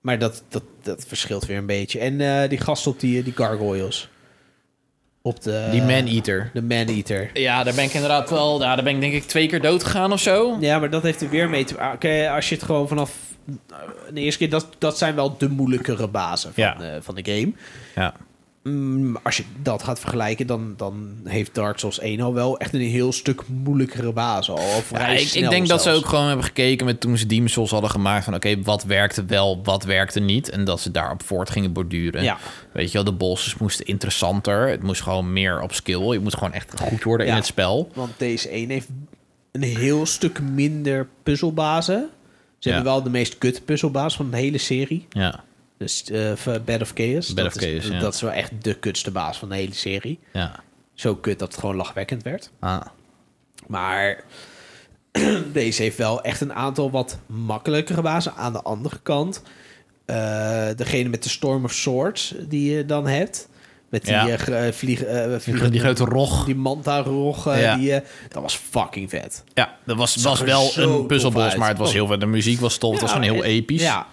Maar dat, dat, dat verschilt weer een beetje. En eh, die gast op die, die gargoyles. Op de,
Die Man-Eater.
De man-eater.
Eh, Ja, daar ben ik inderdaad wel... Ja, daar ben ik denk ik twee keer dood gegaan of zo.
Ja, maar dat heeft er weer mee te maken. als je het gewoon vanaf Nou, de eerste keer... Dat, dat zijn wel de moeilijkere bazen van,
Ja.
eh, van de game.
Ja.
Mm, als je dat gaat vergelijken, dan, dan heeft Dark Souls 1 al wel echt een heel stuk moeilijkere baas. Al, Of
Ja,
vrij
ik, ik
snel
denk dat ze
zelfs.
ook gewoon hebben gekeken met toen ze Demon's Souls hadden gemaakt van oké, wat werkte wel, wat werkte niet. En dat ze daarop voort gingen borduren.
Ja.
Weet je wel, de bosses moesten interessanter. Het moest gewoon meer op skill. Je moet gewoon echt goed worden in
Ja.
het spel.
Want deze 1 heeft een heel stuk minder puzzelbazen. Ze
Ja.
hebben wel de meest kut puzzelbaas van de hele serie.
Ja,
Dus eh Bed of Chaos.
Bed
dat
of
is,
Chaos, ja.
Dat is wel echt de kutste baas van de hele serie.
ja.
Zo kut dat het gewoon lachwekkend werd.
Ah.
Maar deze heeft wel echt een aantal wat makkelijkere bazen. Aan de andere kant, eh, degene met de Storm of Swords die je dan hebt. Met die
Ja.
eh, gr- eh, vlieg, eh,
Die,
vliegende-
die grote rog.
die manta-rog. eh,
Ja.
die, eh, dat was fucking vet.
Ja, dat was,
Zag
was
er
wel
zo
een
tof
puzzelbos,
uit.
maar het was heel veel. De muziek was tof. het was gewoon heel
en-
episch.
Ja.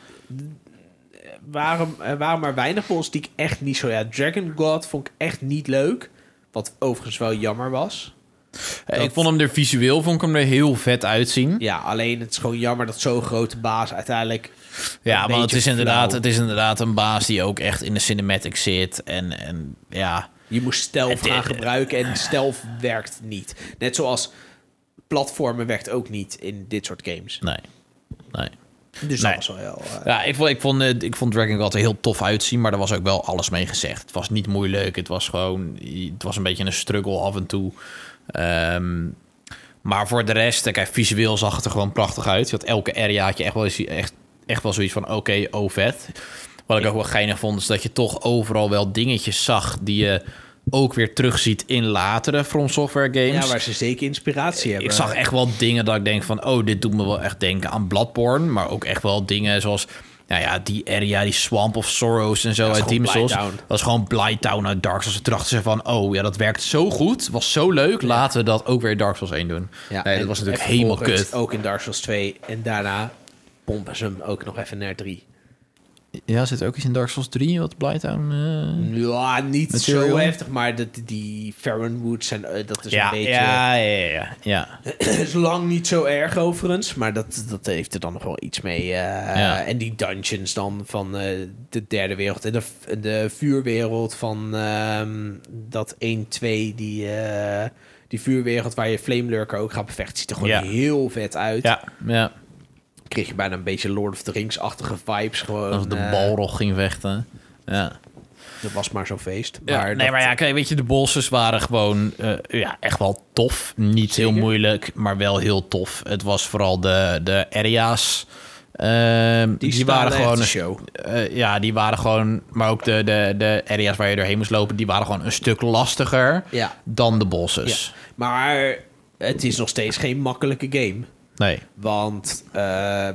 Waarom, er waren maar weinig volgens die ik echt niet zo... Ja, Dragon God vond ik echt niet leuk. Wat overigens wel jammer was.
Eh, Ik vond hem er visueel vond ik hem er heel vet uitzien.
Ja, alleen het is gewoon jammer dat zo'n grote baas uiteindelijk...
Ja,
een
want het
beetje
is, inderdaad,
flauw.
het is inderdaad een baas die ook echt in de cinematic zit. En, en ja.
Je moest stealth
Het- eh,
gaan gebruiken en stealth werkt niet. Net zoals platformen werkt ook niet in dit soort games.
Nee. Nee.
Dus
Nee.
dat was wel heel... eh,
Ja, ik vond, ik, vond, eh, ik vond Dragon God er heel tof uitzien, maar er was ook wel alles mee gezegd. Het was niet moeilijk, het was gewoon... Het was een beetje een struggle af en toe. Ehm, maar voor de rest, eh, kijk, visueel zag het er gewoon prachtig uit. Je had elke area had je echt wel, eens- echt, echt wel zoiets van, oké, oh vet. Wat ik ook wel geinig vond, is dat je toch overal wel dingetjes zag die je ook weer terugziet in latere From Software games.
Ja, waar ze zeker inspiratie hebben.
Eh, Ik zag echt wel dingen dat ik denk van... oh, dit doet me wel echt denken aan Bloodborne. Maar ook echt wel dingen zoals... nou ja, die area, die Swamp of Sorrows en zo
is
uit
gewoon
Demon's Souls.
Blighttown.
Dat is gewoon Blighttown uit Dark Souls. En Toen dachten ze van, oh ja, dat werkt zo goed. Was zo leuk. Laten we dat ook weer in Dark Souls 1 doen. nee, dat
en-
was natuurlijk
en
helemaal
vervolgens
kut.
Ook in Dark Souls 2. En daarna pompen ze hem ook nog even naar 3.
Ja, zit er ook iets in Dark Souls 3 wat Blighttown... eh,
Ja, niet
Material.
zo heftig, maar dat, die Farron Woods, en, eh, dat is
ja,
een beetje...
ja, ja, ja, ja.
is lang niet zo erg overigens, maar dat, dat heeft er dan nog wel iets mee. eh,
Ja.
En die dungeons dan van eh, de derde wereld en de, de vuurwereld van ehm, dat 1-2, die, eh, die vuurwereld waar je Flamelurker ook gaat bevechten, ziet er gewoon
Ja.
heel vet uit.
Ja, ja.
Kreeg je bijna een beetje Lord of the Rings-achtige vibes gewoon.
Als de
eh,
balrog ging vechten. Ja.
dat was maar zo'n feest.
Ja,
maar
nee,
dat-
maar ja, kijk, weet je, de bosses waren gewoon eh, ja, echt wel tof. Niet heel
Zeker.
moeilijk, maar wel heel tof. Het was vooral de, de area's. ehm, die
staan
waren
echt
gewoon
de
een
show.
eh, ja, die waren gewoon. Maar ook de, de, de area's waar je doorheen moest lopen, die waren gewoon een stuk lastiger
Ja.
dan de bosses.
Maar het is nog steeds geen makkelijke game.
Nee.
Want eh,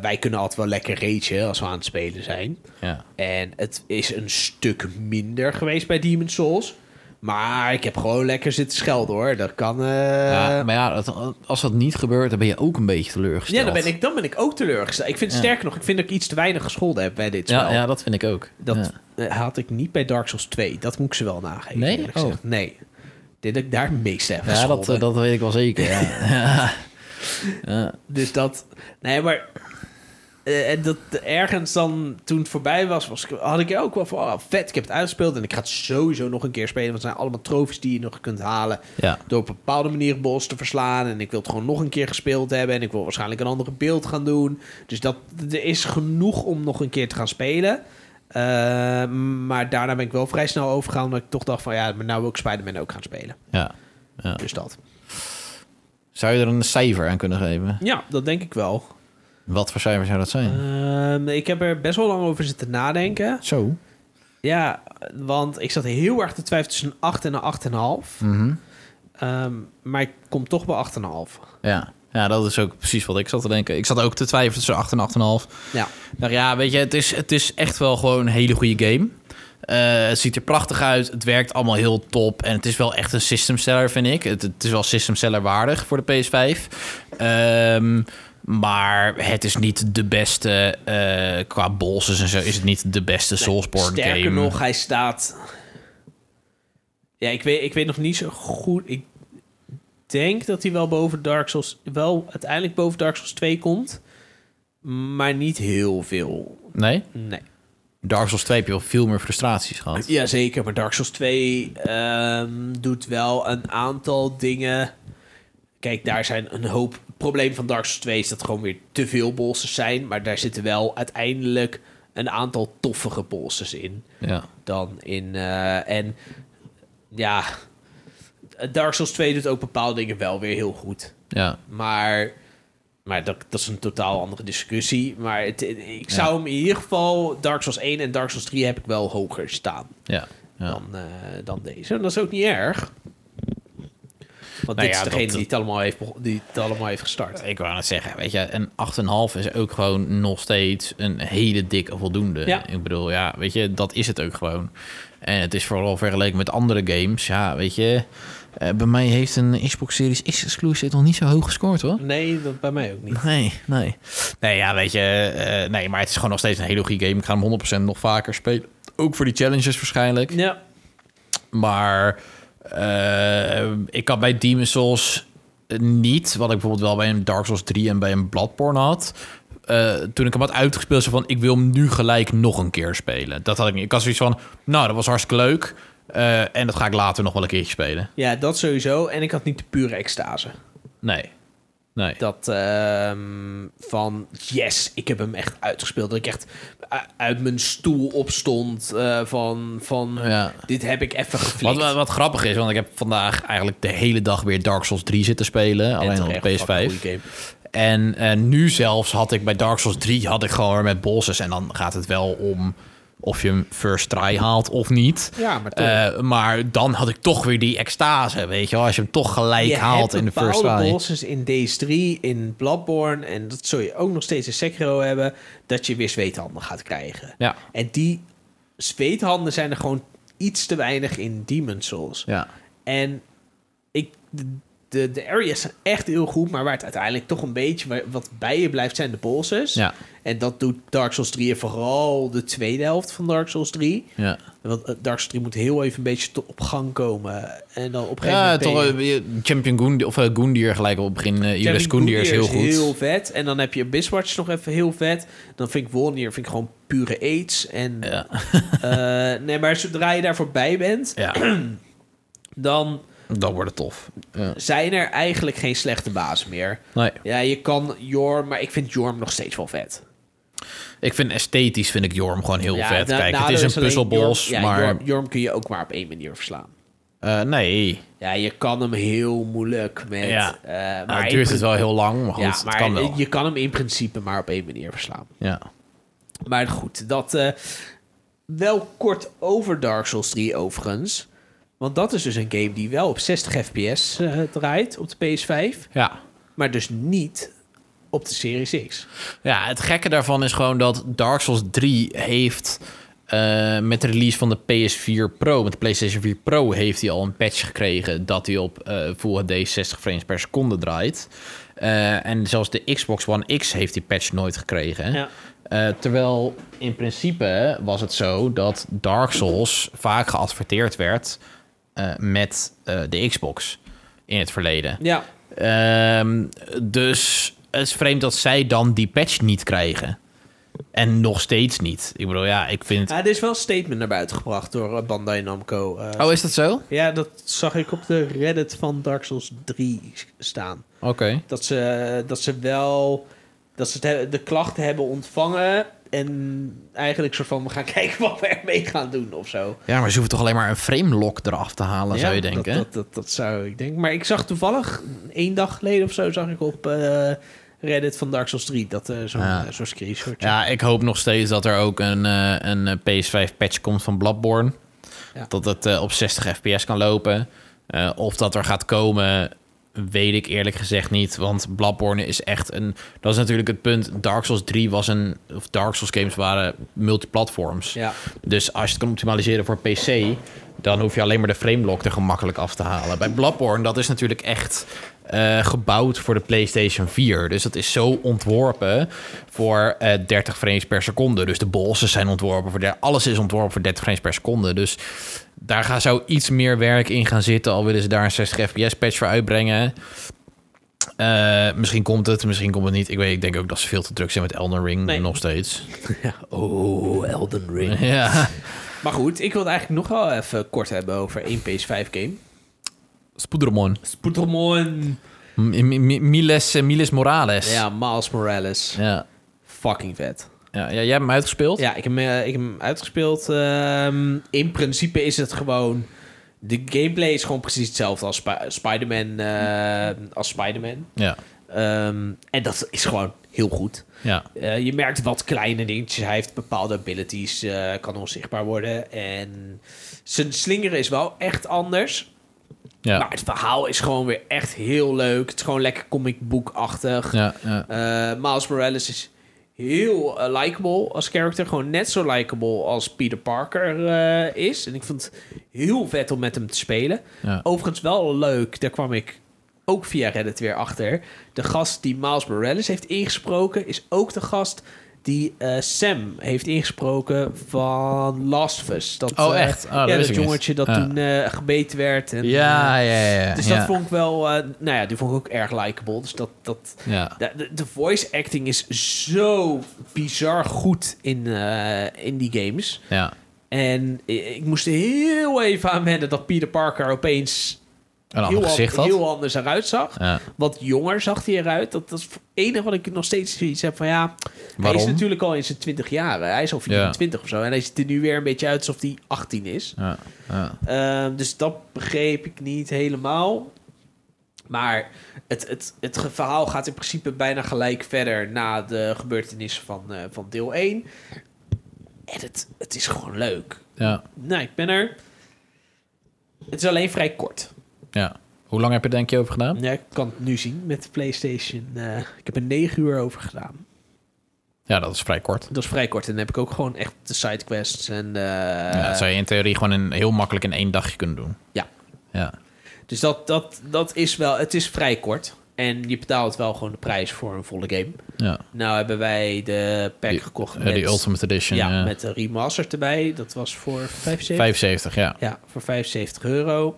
wij kunnen altijd wel lekker ragen als we aan het spelen zijn.
Ja.
En het is een stuk minder geweest bij Demon's Souls. Maar ik heb gewoon lekker zitten schelden hoor. Dat kan. eh,
ja,
Ja,
maar ja, dat- als dat niet gebeurt, dan ben je ook een beetje teleurgesteld.
dan, ben ik, dan ben ik ook teleurgesteld. Ik vind
Ja.
sterker nog, ik vind dat ik iets te weinig gescholden heb bij dit spel.
Ja, ja, dat vind ik ook.
Dat
Ja.
eh, had ik niet bij Dark Souls 2. Dat moet ik ze wel nageven.
Nee? Oh.
eerlijk gezegd. Nee. Dit dat ik daar het meeste heb
Ja, dat,
gescholden.
eh, dat weet ik wel zeker. Ja.
Dus dat. Nee, maar. eh, en dat ergens dan toen het voorbij was, was ik- had ik er ook wel van. oh, vet, ik heb het uitgespeeld. En ik ga het sowieso nog een keer spelen. Want het zijn allemaal trofies die je nog kunt halen.
ja.
Door op een bepaalde manier boss te verslaan. En ik wil het gewoon nog een keer gespeeld hebben. En ik wil waarschijnlijk een andere beeld gaan doen. Dus dat, er is genoeg om nog een keer te gaan spelen. Eh, maar daarna ben ik wel vrij snel overgegaan. Omdat ik toch dacht van ja, maar nou wil ik Spider-Man ook gaan spelen.
ja. Ja.
Dus dat.
Zou je er een cijfer aan kunnen geven?
Ja, dat denk ik wel.
Wat voor cijfer zou dat zijn?
Ehm, ik heb er best wel lang over zitten nadenken.
Zo.
Ja, want ik zat heel erg te twijfelen tussen een 8 en een
Hm.
8,5.
Mhm.
Ehm, maar ik kom toch bij 8,5.
Ja. ja, dat is ook precies wat ik zat te denken. Ik zat ook te twijfelen tussen 8 en 8,5.
Ja,
Nou ja, weet je, het is, het is echt wel gewoon een hele goede game. Eh, het ziet er prachtig uit. Het werkt allemaal heel top. En het is wel echt een systemseller, vind ik. Het, het is wel systemseller waardig voor de PS5. Ehm, maar het is niet de beste... eh, qua bosses en zo is het niet de beste Soulsborne
sterker
game.
nog, hij staat... Ja, ik weet, ik weet nog niet zo goed... Ik denk dat hij wel boven Dark Souls... Wel uiteindelijk boven Dark Souls 2 komt. Maar niet heel veel.
Nee?
Nee.
Dark Souls 2 heb je wel veel meer frustraties gehad.
Ja, zeker. Maar Dark Souls 2 ehm, doet wel een aantal dingen. Kijk, daar zijn een hoop. Het probleem van Dark Souls 2 is dat er gewoon weer te veel bosses zijn. Maar daar zitten wel uiteindelijk een aantal toffere bosses in.
Ja.
Dan in. eh, en ja. Dark Souls 2 doet ook bepaalde dingen wel weer heel goed.
Ja.
Maar, maar dat, dat is een totaal andere discussie. Maar het, ik zou hem in ieder geval... Dark Souls 1 en Dark Souls 3 heb ik wel hoger staan
Ja. ja.
dan, eh, dan deze. En dat is ook niet erg. Want dit
ja,
is degene
dat-
die, het allemaal heeft, bego- die het allemaal heeft gestart.
Ik wou net zeggen, weet je, een 8,5 is ook gewoon nog steeds een hele dikke voldoende.
Ja.
Ik bedoel, ja, weet je, dat is het ook gewoon. En het is vooral vergeleken met andere games. Ja, weet je, eh, bij mij heeft een Xbox Series X exclusive nog niet zo hoog gescoord hoor.
Nee, dat bij mij ook niet.
Nee, nee. Nee, ja, weet je, eh, nee, maar het is gewoon nog steeds een hele goede game. Ik ga hem 100% nog vaker spelen. Ook voor die challenges waarschijnlijk.
Ja,
Maar eh, ik had bij Demon's Souls eh, niet, wat ik bijvoorbeeld wel bij een Dark Souls 3 en bij een Bloodborne had. Eh, toen ik hem had uitgespeeld, zo van ik wil hem nu gelijk nog een keer spelen. Dat had ik niet. Ik had zoiets van, nou, dat was hartstikke leuk. eh, en dat ga ik later nog wel een keertje spelen.
ja, dat sowieso. En ik had niet de pure extase.
Nee. Nee.
Dat ehm, van yes, ik heb hem echt uitgespeeld. Dat ik echt u- uit mijn stoel opstond eh, van, van
Ja.
dit heb ik even
Wat,
geflikt.
wat, wat grappig is, want ik heb vandaag eigenlijk de hele dag weer Dark Souls 3 zitten spelen. alleen op
terecht, fucking
PS5.
goede game.
En eh, nu zelfs had ik bij Dark Souls 3 had ik gewoon weer met bosses. En dan gaat het wel om, of je hem first try haalt of niet.
Ja, maar toch.
Eh, maar dan had ik toch weer die extase, weet je wel. Als je hem toch gelijk
je
haalt in
hebt
de first
bepaalde
try.
bosses in Days 3, in Bloodborne... en dat zul je ook nog steeds in Sekiro hebben... dat je weer zweethanden gaat krijgen.
Ja,
En die zweethanden zijn er gewoon iets te weinig in Demon Souls.
ja.
En ik, de- de, de areas zijn echt heel goed, maar waar het uiteindelijk toch een beetje wa- wat bij je blijft zijn de bosses.
Ja,
En dat doet Dark Souls 3 en vooral de tweede helft van Dark Souls 3.
ja.
Want eh, Dark Souls 3 moet heel even een beetje tot op gang komen. En dan op een gegeven
ja
moment ben
toch,
je-
eh, je- Champion Goendier, of eh, Goendier gelijk op het begin. eh,
Jeremy
Jules Goendier is heel
Goodyear
goed.
heel vet. En dan heb je Biswatch nog even heel vet. Dan vind ik Wolnier vind ik gewoon pure aids. En,
Ja,
eh, nee, maar zodra je daar voorbij bent,
ja,
dan
dat wordt het tof. Ja.
zijn er eigenlijk geen slechte baas meer.
Nee,
Ja, je kan Jorm, maar ik vind Jorm nog steeds wel vet.
ik vind esthetisch vind ik Jorm gewoon heel
Ja, nou,
vet.
na-
Kijk, het
nadeel
is een
alleen
puzzelbos,
Jorm- ja,
maar...
Jorm, Jorm kun je ook maar op één manier verslaan.
eh, nee,
Ja, je kan hem heel moeilijk met...
Ja.
eh,
nou,
in
het duurt
prin-
het wel heel lang, maar goed,
ja,
het
maar
kan wel.
je kan hem in principe maar op één manier verslaan.
Ja.
Maar goed, dat eh, wel kort over Dark Souls 3 overigens. Want dat is dus een game die wel op 60 fps eh, draait op de PS5.
Ja.
Maar dus niet op de Series X.
ja, het gekke daarvan is gewoon dat Dark Souls 3 heeft... eh, met de release van de PS4 Pro, met de PlayStation 4 Pro... heeft hij al een patch gekregen dat hij op eh, Full HD 60 frames per seconde draait. Eh, en zelfs de Xbox One X heeft die patch nooit gekregen. hè? Eh, terwijl in principe was het zo dat Dark Souls vaak geadverteerd werd eh, met eh, de Xbox in het verleden.
Ja.
Ehm, dus het is vreemd dat zij dan die patch niet krijgen. En nog steeds niet. Ik bedoel, ja, ik vind.
Ah, er is wel een statement naar buiten gebracht door eh, Bandai Namco. eh.
Oh, is dat zo? Oké.
Ja, dat zag ik op de Reddit van Dark Souls 3 staan. Dat ze, dat ze wel dat ze het he- de klachten hebben ontvangen. En eigenlijk soort van, we gaan kijken wat we ermee gaan doen of zo.
Ja, maar ze hoeven toch alleen maar een frame lock eraf te halen,
Ja,
zou je denken?
Dat, dat, dat, dat zou ik denken. Maar ik zag toevallig, één dag geleden of zo, zag ik op eh, Reddit van Dark Souls 3 dat eh zo'n
Ja.
eh, zo'n screenshot.
Ja, ik hoop nog steeds dat er ook een, eh, een eh, PS5-patch komt van Bloodborne.
Ja.
Dat het eh, op 60 fps kan lopen. Eh, of dat er gaat komen, weet ik eerlijk gezegd niet. Want Bloodborne is echt een... Dat is natuurlijk het punt. Dark Souls 3 was een... Of Dark Souls games waren multiplatforms.
Ja.
Dus als je het kan optimaliseren voor PC... dan hoef je alleen maar de frame lock er gemakkelijk af te halen. Bij Bloodborne, dat is natuurlijk echt... eh, gebouwd voor de PlayStation 4. Dus dat is zo ontworpen voor eh, 30 frames per seconde. Dus de bosses zijn ontworpen voor... der- Alles is ontworpen voor 30 frames per seconde. Dus daar ga, zou iets meer werk in gaan zitten... al willen ze daar een 60 fps patch voor uitbrengen. Eh, misschien komt het, misschien komt het niet. Ik, weet, ik denk ook dat ze veel te druk zijn met Elden Ring
Nee.
nog steeds.
Oh, Elden Ring.
Ja.
Maar goed, ik wil het eigenlijk nog wel even kort hebben over één PS5 game.
Spoedermon.
Spoedermon.
Miles, eh, Miles Morales.
Ja, Miles Morales.
Ja.
Fucking vet.
Ja, ja, jij hebt hem uitgespeeld?
Ja, ik heb, hem, eh, ik heb hem uitgespeeld. Ehm, in principe is het gewoon... De gameplay is gewoon precies hetzelfde als Spi- Spider-Man. eh, als Spider-Man.
Ja.
Ehm, en dat is gewoon heel goed.
Ja.
Eh, je merkt wat kleine dingetjes. Hij heeft bepaalde abilities, eh, kan onzichtbaar worden. En zijn slingeren is wel echt anders.
Ja.
Maar het verhaal is gewoon weer echt heel leuk. Het is gewoon lekker comic book-achtig.
Ja. ja.
Eh, Miles Morales is heel eh, likable als character. Gewoon net zo likable als Peter Parker eh, is. En ik vond het heel vet om met hem te spelen.
Ja.
Overigens wel leuk, daar kwam ik ook via Reddit weer achter. De gast die Miles Morales heeft ingesproken... is ook de gast die eh, Sam heeft ingesproken van Last of Us. Dat,
Oh,
eh,
echt? Oh, dat
ja,
wist
dat
ik niet.
jongetje dat
Ja.
toen eh, gebeten werd. En,
Ja,
eh,
ja, ja.
dus
ja.
dat vond ik wel... eh, nou ja, die vond ik ook erg likable. Dus dat... dat
Ja.
de, de, de voice acting is zo bizar goed in, eh, in die games.
Ja.
En i- ik moest er heel even aan wennen dat Peter Parker opeens
Een
heel,
ander
an-
gezicht had.
heel anders eruit zag.
Ja.
Wat jonger zag hij eruit. Dat, dat is het enige wat ik nog steeds zoiets heb van ja. Hij
Waarom?
is natuurlijk al in zijn 20 jaren. Hij is al 24 of zo. En hij ziet er nu weer een beetje uit alsof hij 18 is.
Ja. Ja.
Ehm, dus dat begreep ik niet helemaal. Maar het, het, het ge- verhaal gaat in principe bijna gelijk verder na de gebeurtenissen van, eh, van deel 1. En het, het is gewoon leuk.
Ja,
Nou, ik ben er. Het is alleen vrij kort.
ja. Hoe lang heb je er denk je over gedaan?
Ja, ik kan het nu zien met de PlayStation. eh, ik heb er negen uur over gedaan.
Ja, dat is vrij kort.
Dat is vrij kort. En dan heb ik ook gewoon echt de sidequests. En, eh,
ja, dat zou je in theorie gewoon in, heel makkelijk in één dagje kunnen doen.
Ja.
Ja,
Dus dat, dat, dat is wel... Het is vrij kort. En je betaalt wel gewoon de prijs voor een volle game.
ja.
Nou hebben wij de pack
Die-
gekocht
Eh, die Ultimate Edition.
ja,
eh,
met de remaster erbij. Dat was voor 75?
75, ja.
Ja, voor 75 euro.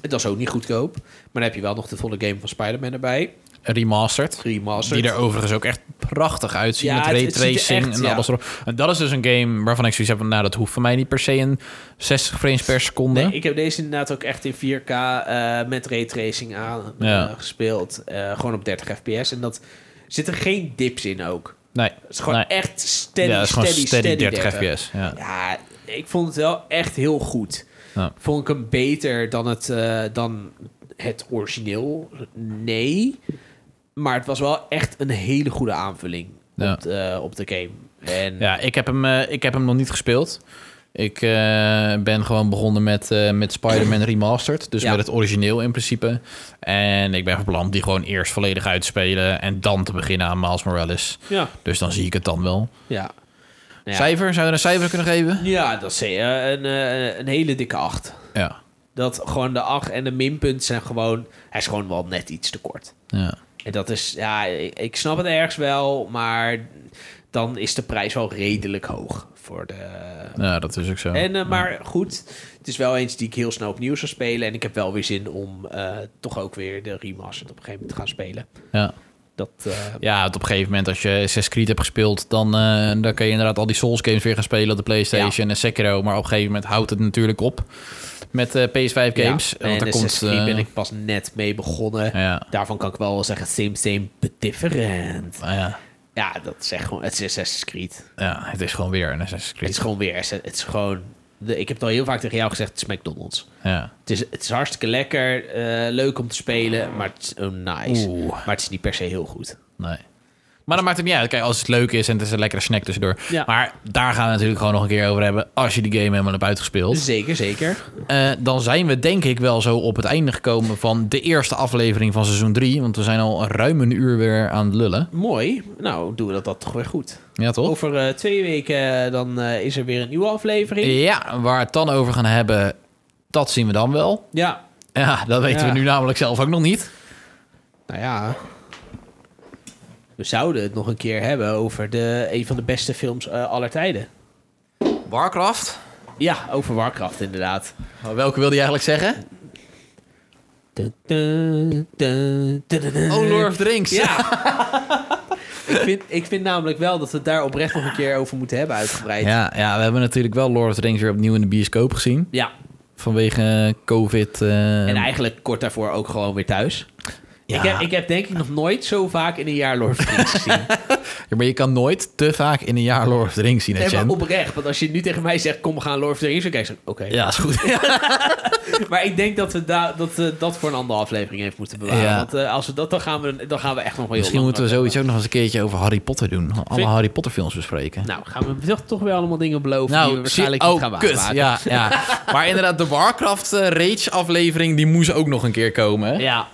Dat is ook niet goedkoop. Maar dan heb je wel nog de volle game van Spider-Man erbij.
Remastered.
Remastered.
Die er overigens ook echt prachtig uitzien
Ja,
met
het-
ray
het ziet er
tracing
echt,
en
ja.
alles erop. En dat is dus een game waarvan ik zoiets heb van... nou, dat hoeft voor mij niet per se een 60 frames per seconde.
Nee, ik heb deze inderdaad ook echt in 4K eh, met raytracing aan eh,
Ja.
gespeeld. Eh, gewoon op 30 fps. En dat zitten geen dips in ook.
Nee.
Het is gewoon
Nee.
echt steady,
ja, dat is gewoon
steady, steady,
30 fps. Ja.
Ja, ik vond het wel echt heel goed.
Ja.
Vond ik hem beter dan het, eh, dan het origineel? Nee. Maar het was wel echt een hele goede aanvulling
Ja.
op, de, eh, op de game. En
Ja, ik heb hem, eh, ik heb hem nog niet gespeeld. Ik eh, ben gewoon begonnen met, eh, met Spider-Man Remastered. Dus
Ja.
met het origineel in principe. En ik ben van plan die gewoon eerst volledig uit te spelen. En dan te beginnen aan Miles Morales.
ja,
Dus dan zie ik het dan wel.
ja. Ja.
Cijfer? Zou je er een cijfer kunnen geven?
Ja, dat is eh, een, eh, een hele dikke 8.
Ja.
Dat gewoon de 8 en de minpunt zijn gewoon... Hij is gewoon wel net iets te kort.
ja.
En dat is... Ja, ik, ik snap het ergens wel, maar dan is de prijs wel redelijk hoog voor de...
Ja, nou, dat is ook zo.
En, eh, maar goed, het is wel eens die ik heel snel opnieuw zou spelen. En ik heb wel weer zin om eh, toch ook weer de remastered op een gegeven moment te gaan spelen.
Ja.
Dat, eh,
Ja, want op een gegeven moment als je Assassin's Creed hebt gespeeld... dan, eh, dan kan je inderdaad al die Souls games weer gaan spelen op de Playstation en Sekiro. Maar op een gegeven moment houdt het natuurlijk op met eh, PS5 games.
Ja.
want
en
er komt...
Assassin's Creed
eh,
ben ik pas net mee begonnen.
Ja,
Daarvan kan ik wel zeggen, same, same, but different.
nou ja,
Ja, dat is echt gewoon, het is Assassin's Creed.
ja, het is gewoon weer een Assassin's
Het
Creed.
is gewoon weer, Assa- het is gewoon, de, ik heb het al heel vaak tegen jou gezegd, het is McDonald's.
Ja.
Het is, het is hartstikke lekker, eh, leuk om te spelen, maar het is oh, nice.
Oeh.
Maar het is niet per se heel goed.
Nee. Maar dat maakt het niet uit. Kijk, als het leuk is en het is een lekkere snack tussendoor.
Ja.
Maar daar gaan we natuurlijk gewoon nog een keer over hebben. Als je die game helemaal hebt uitgespeeld.
Dus Zeker, zeker.
Eh, dan zijn we denk ik wel zo op het einde gekomen van de eerste aflevering van seizoen 3. Want we zijn al ruim een uur weer aan het lullen.
Mooi. Nou, doen we dat, dat toch weer goed.
Ja, toch?
Over eh, twee weken eh, dan eh, is er weer een nieuwe aflevering.
Ja, waar we het dan over gaan hebben, dat zien we dan wel.
Ja.
Ja, dat weten
Ja.
we nu namelijk zelf ook nog niet.
Nou ja. We zouden het nog een keer hebben over de, een van de beste films eh, aller tijden.
Warcraft.
Ja, over Warcraft inderdaad.
Welke wilde je eigenlijk zeggen?
Dun, dun, dun, dun, dun, dun.
Oh, Lord of the Rings.
Ja. ik, vind, ik vind namelijk wel dat we het daar oprecht nog een keer over moeten hebben uitgebreid.
Ja, ja, we hebben natuurlijk wel Lord of the Rings weer opnieuw in de bioscoop gezien.
Ja,
Vanwege eh, COVID. eh,
en eigenlijk kort daarvoor ook gewoon weer thuis.
Ja.
Ik, heb, ik heb denk ik nog nooit zo vaak in een jaar Lord of the Rings gezien.
Ja, maar je kan nooit te vaak in een jaar Lord of the Rings zien. hè,
Nee, maar
Jen?
oprecht. Want als je nu tegen mij zegt, kom we gaan Lord of the Rings bekijken, zeg ik, oké.
Ja, is goed.
Maar ik denk dat we da dat, we dat voor een andere aflevering even moeten bewaren.
Ja.
Want eh, als we dat, dan gaan we, dan gaan we echt nog wel heel
Misschien
lang
moeten we
over
zoiets ook nog eens een keertje over Harry Potter doen. Alle
Vind-
Harry Potter films bespreken.
hebben. Nou, gaan we toch, toch weer allemaal dingen beloven die we waarschijnlijk
zie-
niet gaan
Nou, Oh, kut.
waarmaken.
Ja, ja. maar inderdaad, de Warcraft eh, Rage aflevering, die moest ook nog een keer komen. hè?
Ja.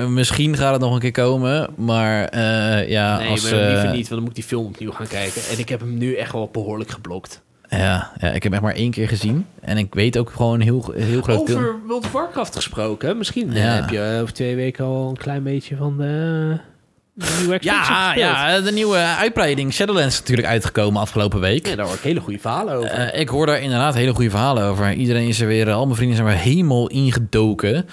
Eh, misschien gaat het nog een keer komen, maar eh, ja,
Nee,
als...
maar
eh,
liever niet, want dan moet ik die film opnieuw gaan kijken. En ik heb hem nu echt wel behoorlijk geblokt.
Ja, ja, ik heb echt maar één keer gezien. En ik weet ook gewoon een heel, heel groot deel...
Over World of Warcraft gesproken, misschien eh,
Ja.
heb je eh, over twee weken al een klein beetje van de, de nieuwe expansion
Ja,
gespeeld.
ja, de nieuwe uitbreiding Shadowlands is natuurlijk uitgekomen afgelopen week.
Ja, daar hoor ik hele goede verhalen over.
Eh, ik hoor daar inderdaad hele goede verhalen over. Iedereen is er weer, eh, al mijn vrienden zijn er helemaal ingedoken.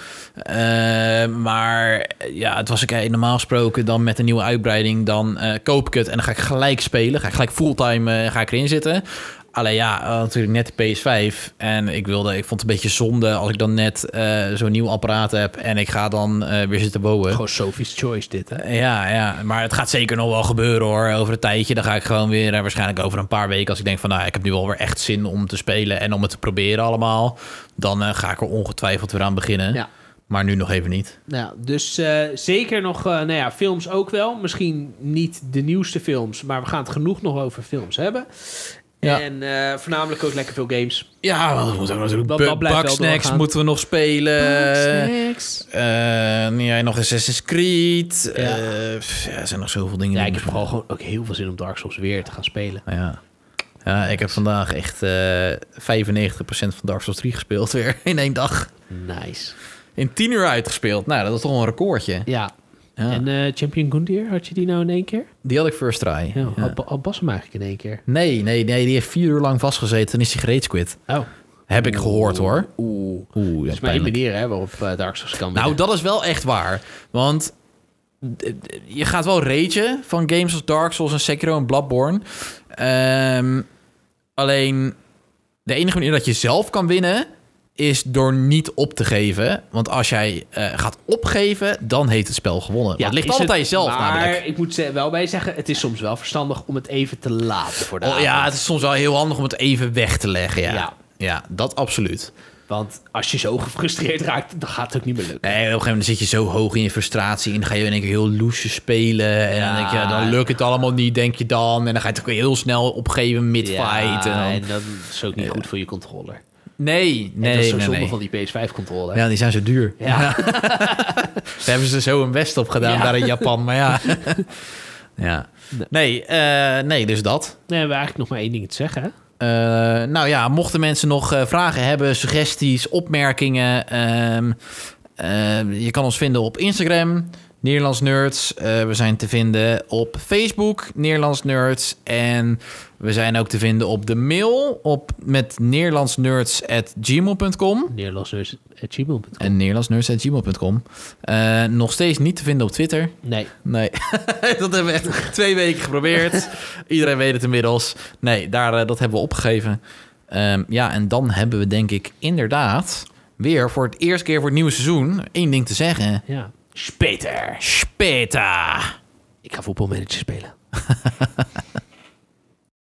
Eh, maar eh, ja, het was ik eh, normaal gesproken dan met een nieuwe uitbreiding. Dan eh, koop ik het en dan ga ik gelijk spelen. Ga ik gelijk fulltime eh, ga ik erin zitten. Alleen ja, eh, natuurlijk net de PS5. En ik wilde, ik vond het een beetje zonde als ik dan net eh, zo'n nieuw apparaat heb. En ik ga dan eh, weer zitten bouwen.
Gewoon Sophie's Choice dit, hè?
Ja, ja, maar het gaat zeker nog wel gebeuren hoor. Over een tijdje, dan ga ik gewoon weer, eh, waarschijnlijk over een paar weken, als ik denk van nou, ik heb nu alweer echt zin om te spelen en om het te proberen allemaal, dan eh, ga ik er ongetwijfeld weer aan beginnen.
Ja.
Maar nu nog even niet.
Nou, dus eh, zeker nog, eh, nou ja, films ook wel. Misschien niet de nieuwste films, maar we gaan het genoeg nog over films hebben.
Ja.
En eh, voornamelijk ook lekker veel games.
Ja, want we moeten ook natuurlijk
Dat- dat
bu-
blijft wel
Bugsnax
doorgaan.
moeten we nog spelen. Eh ja, nog Assassin's Creed.
Ja.
Eh, pff, ja, er zijn nog zoveel dingen.
Ja,
die
ik heb
moeten
vooral gewoon ook heel veel zin om Dark Souls weer te gaan spelen.
Nou Ja. ja, ik heb vandaag echt eh 95% van Dark Souls 3 gespeeld weer in één dag.
Nice.
In 10 uur uitgespeeld. Nou, dat is toch een recordje.
Ja.
Ja.
En eh, Champion Gundir, had je die nou in één keer?
Die had ik first try.
Ja,
Ja.
Had, Ba- had Bas hem eigenlijk in één keer?
Nee, nee, nee, die heeft vier uur lang vastgezeten en is die gereed quit.
Oh.
Heb ik gehoord hoor.
Oeh. Dat
Oeh, ja,
is maar één
pijnlijk.
manier hè, waarop eh, Dark Souls kan
Nou,
winnen.
dat is wel echt waar. Want d- d- je gaat wel ragen van games als Dark Souls en Sekiro en Bloodborne. Ehm, alleen de enige manier dat je zelf kan winnen is door niet op te geven. Want als jij eh, gaat opgeven, dan heet het spel gewonnen. Ja, het ligt
is
altijd aan jezelf
maar
namelijk.
ik moet er wel bij zeggen, het is soms wel verstandig om het even te laten voor de
Oh, ja,
avond.
het is soms wel heel handig om het even weg te leggen. Ja, ja.
Nou, Ja.
dat absoluut.
Want als je zo gefrustreerd raakt, dan gaat het ook niet meer lukken.
Nee, op een gegeven moment zit je zo hoog in je frustratie... en dan ga je in één keer heel loesje spelen. En dan,
Ja.
denk je, ja, dan lukt het allemaal niet, denk je dan. En dan ga je het ook weer heel snel opgeven mid-fight.
Ja,
en
en
dan-
dat is ook niet goed voor je controller. En
Nee, nee,
dat is zo
nee,
zonde
nee.
van die PS5-controller.
Ja, die zijn zo duur.
Ja.
Daar hebben ze zo een best op gedaan
Ja.
daar in Japan. Maar ja. ja. Nee, eh, nee, dus dat.
Nee, we hebben eigenlijk nog maar één ding te zeggen. hè?
Eh, nou ja, mochten mensen nog eh, vragen hebben, suggesties, opmerkingen. ehm, eh, je kan ons vinden op Instagram, Nederlands Nerds. Eh, we zijn te vinden op Facebook, Nederlands Nerds. En we zijn ook te vinden op de mail op, met neerlandsnerds.gmail.com.
Neerlosneurs.gmail.com
En neerlandsnerds.gmail.com. Eh nog steeds niet te vinden op Twitter.
Nee.
Nee, dat hebben we echt twee weken geprobeerd. Iedereen weet het inmiddels. Nee, daar, eh, dat hebben we opgegeven. Ehm, ja, en dan hebben we denk ik inderdaad weer voor het eerste keer voor het nieuwe seizoen één ding te zeggen.
Ja. Speter.
Speta!
Ik ga voetbalmanager spelen.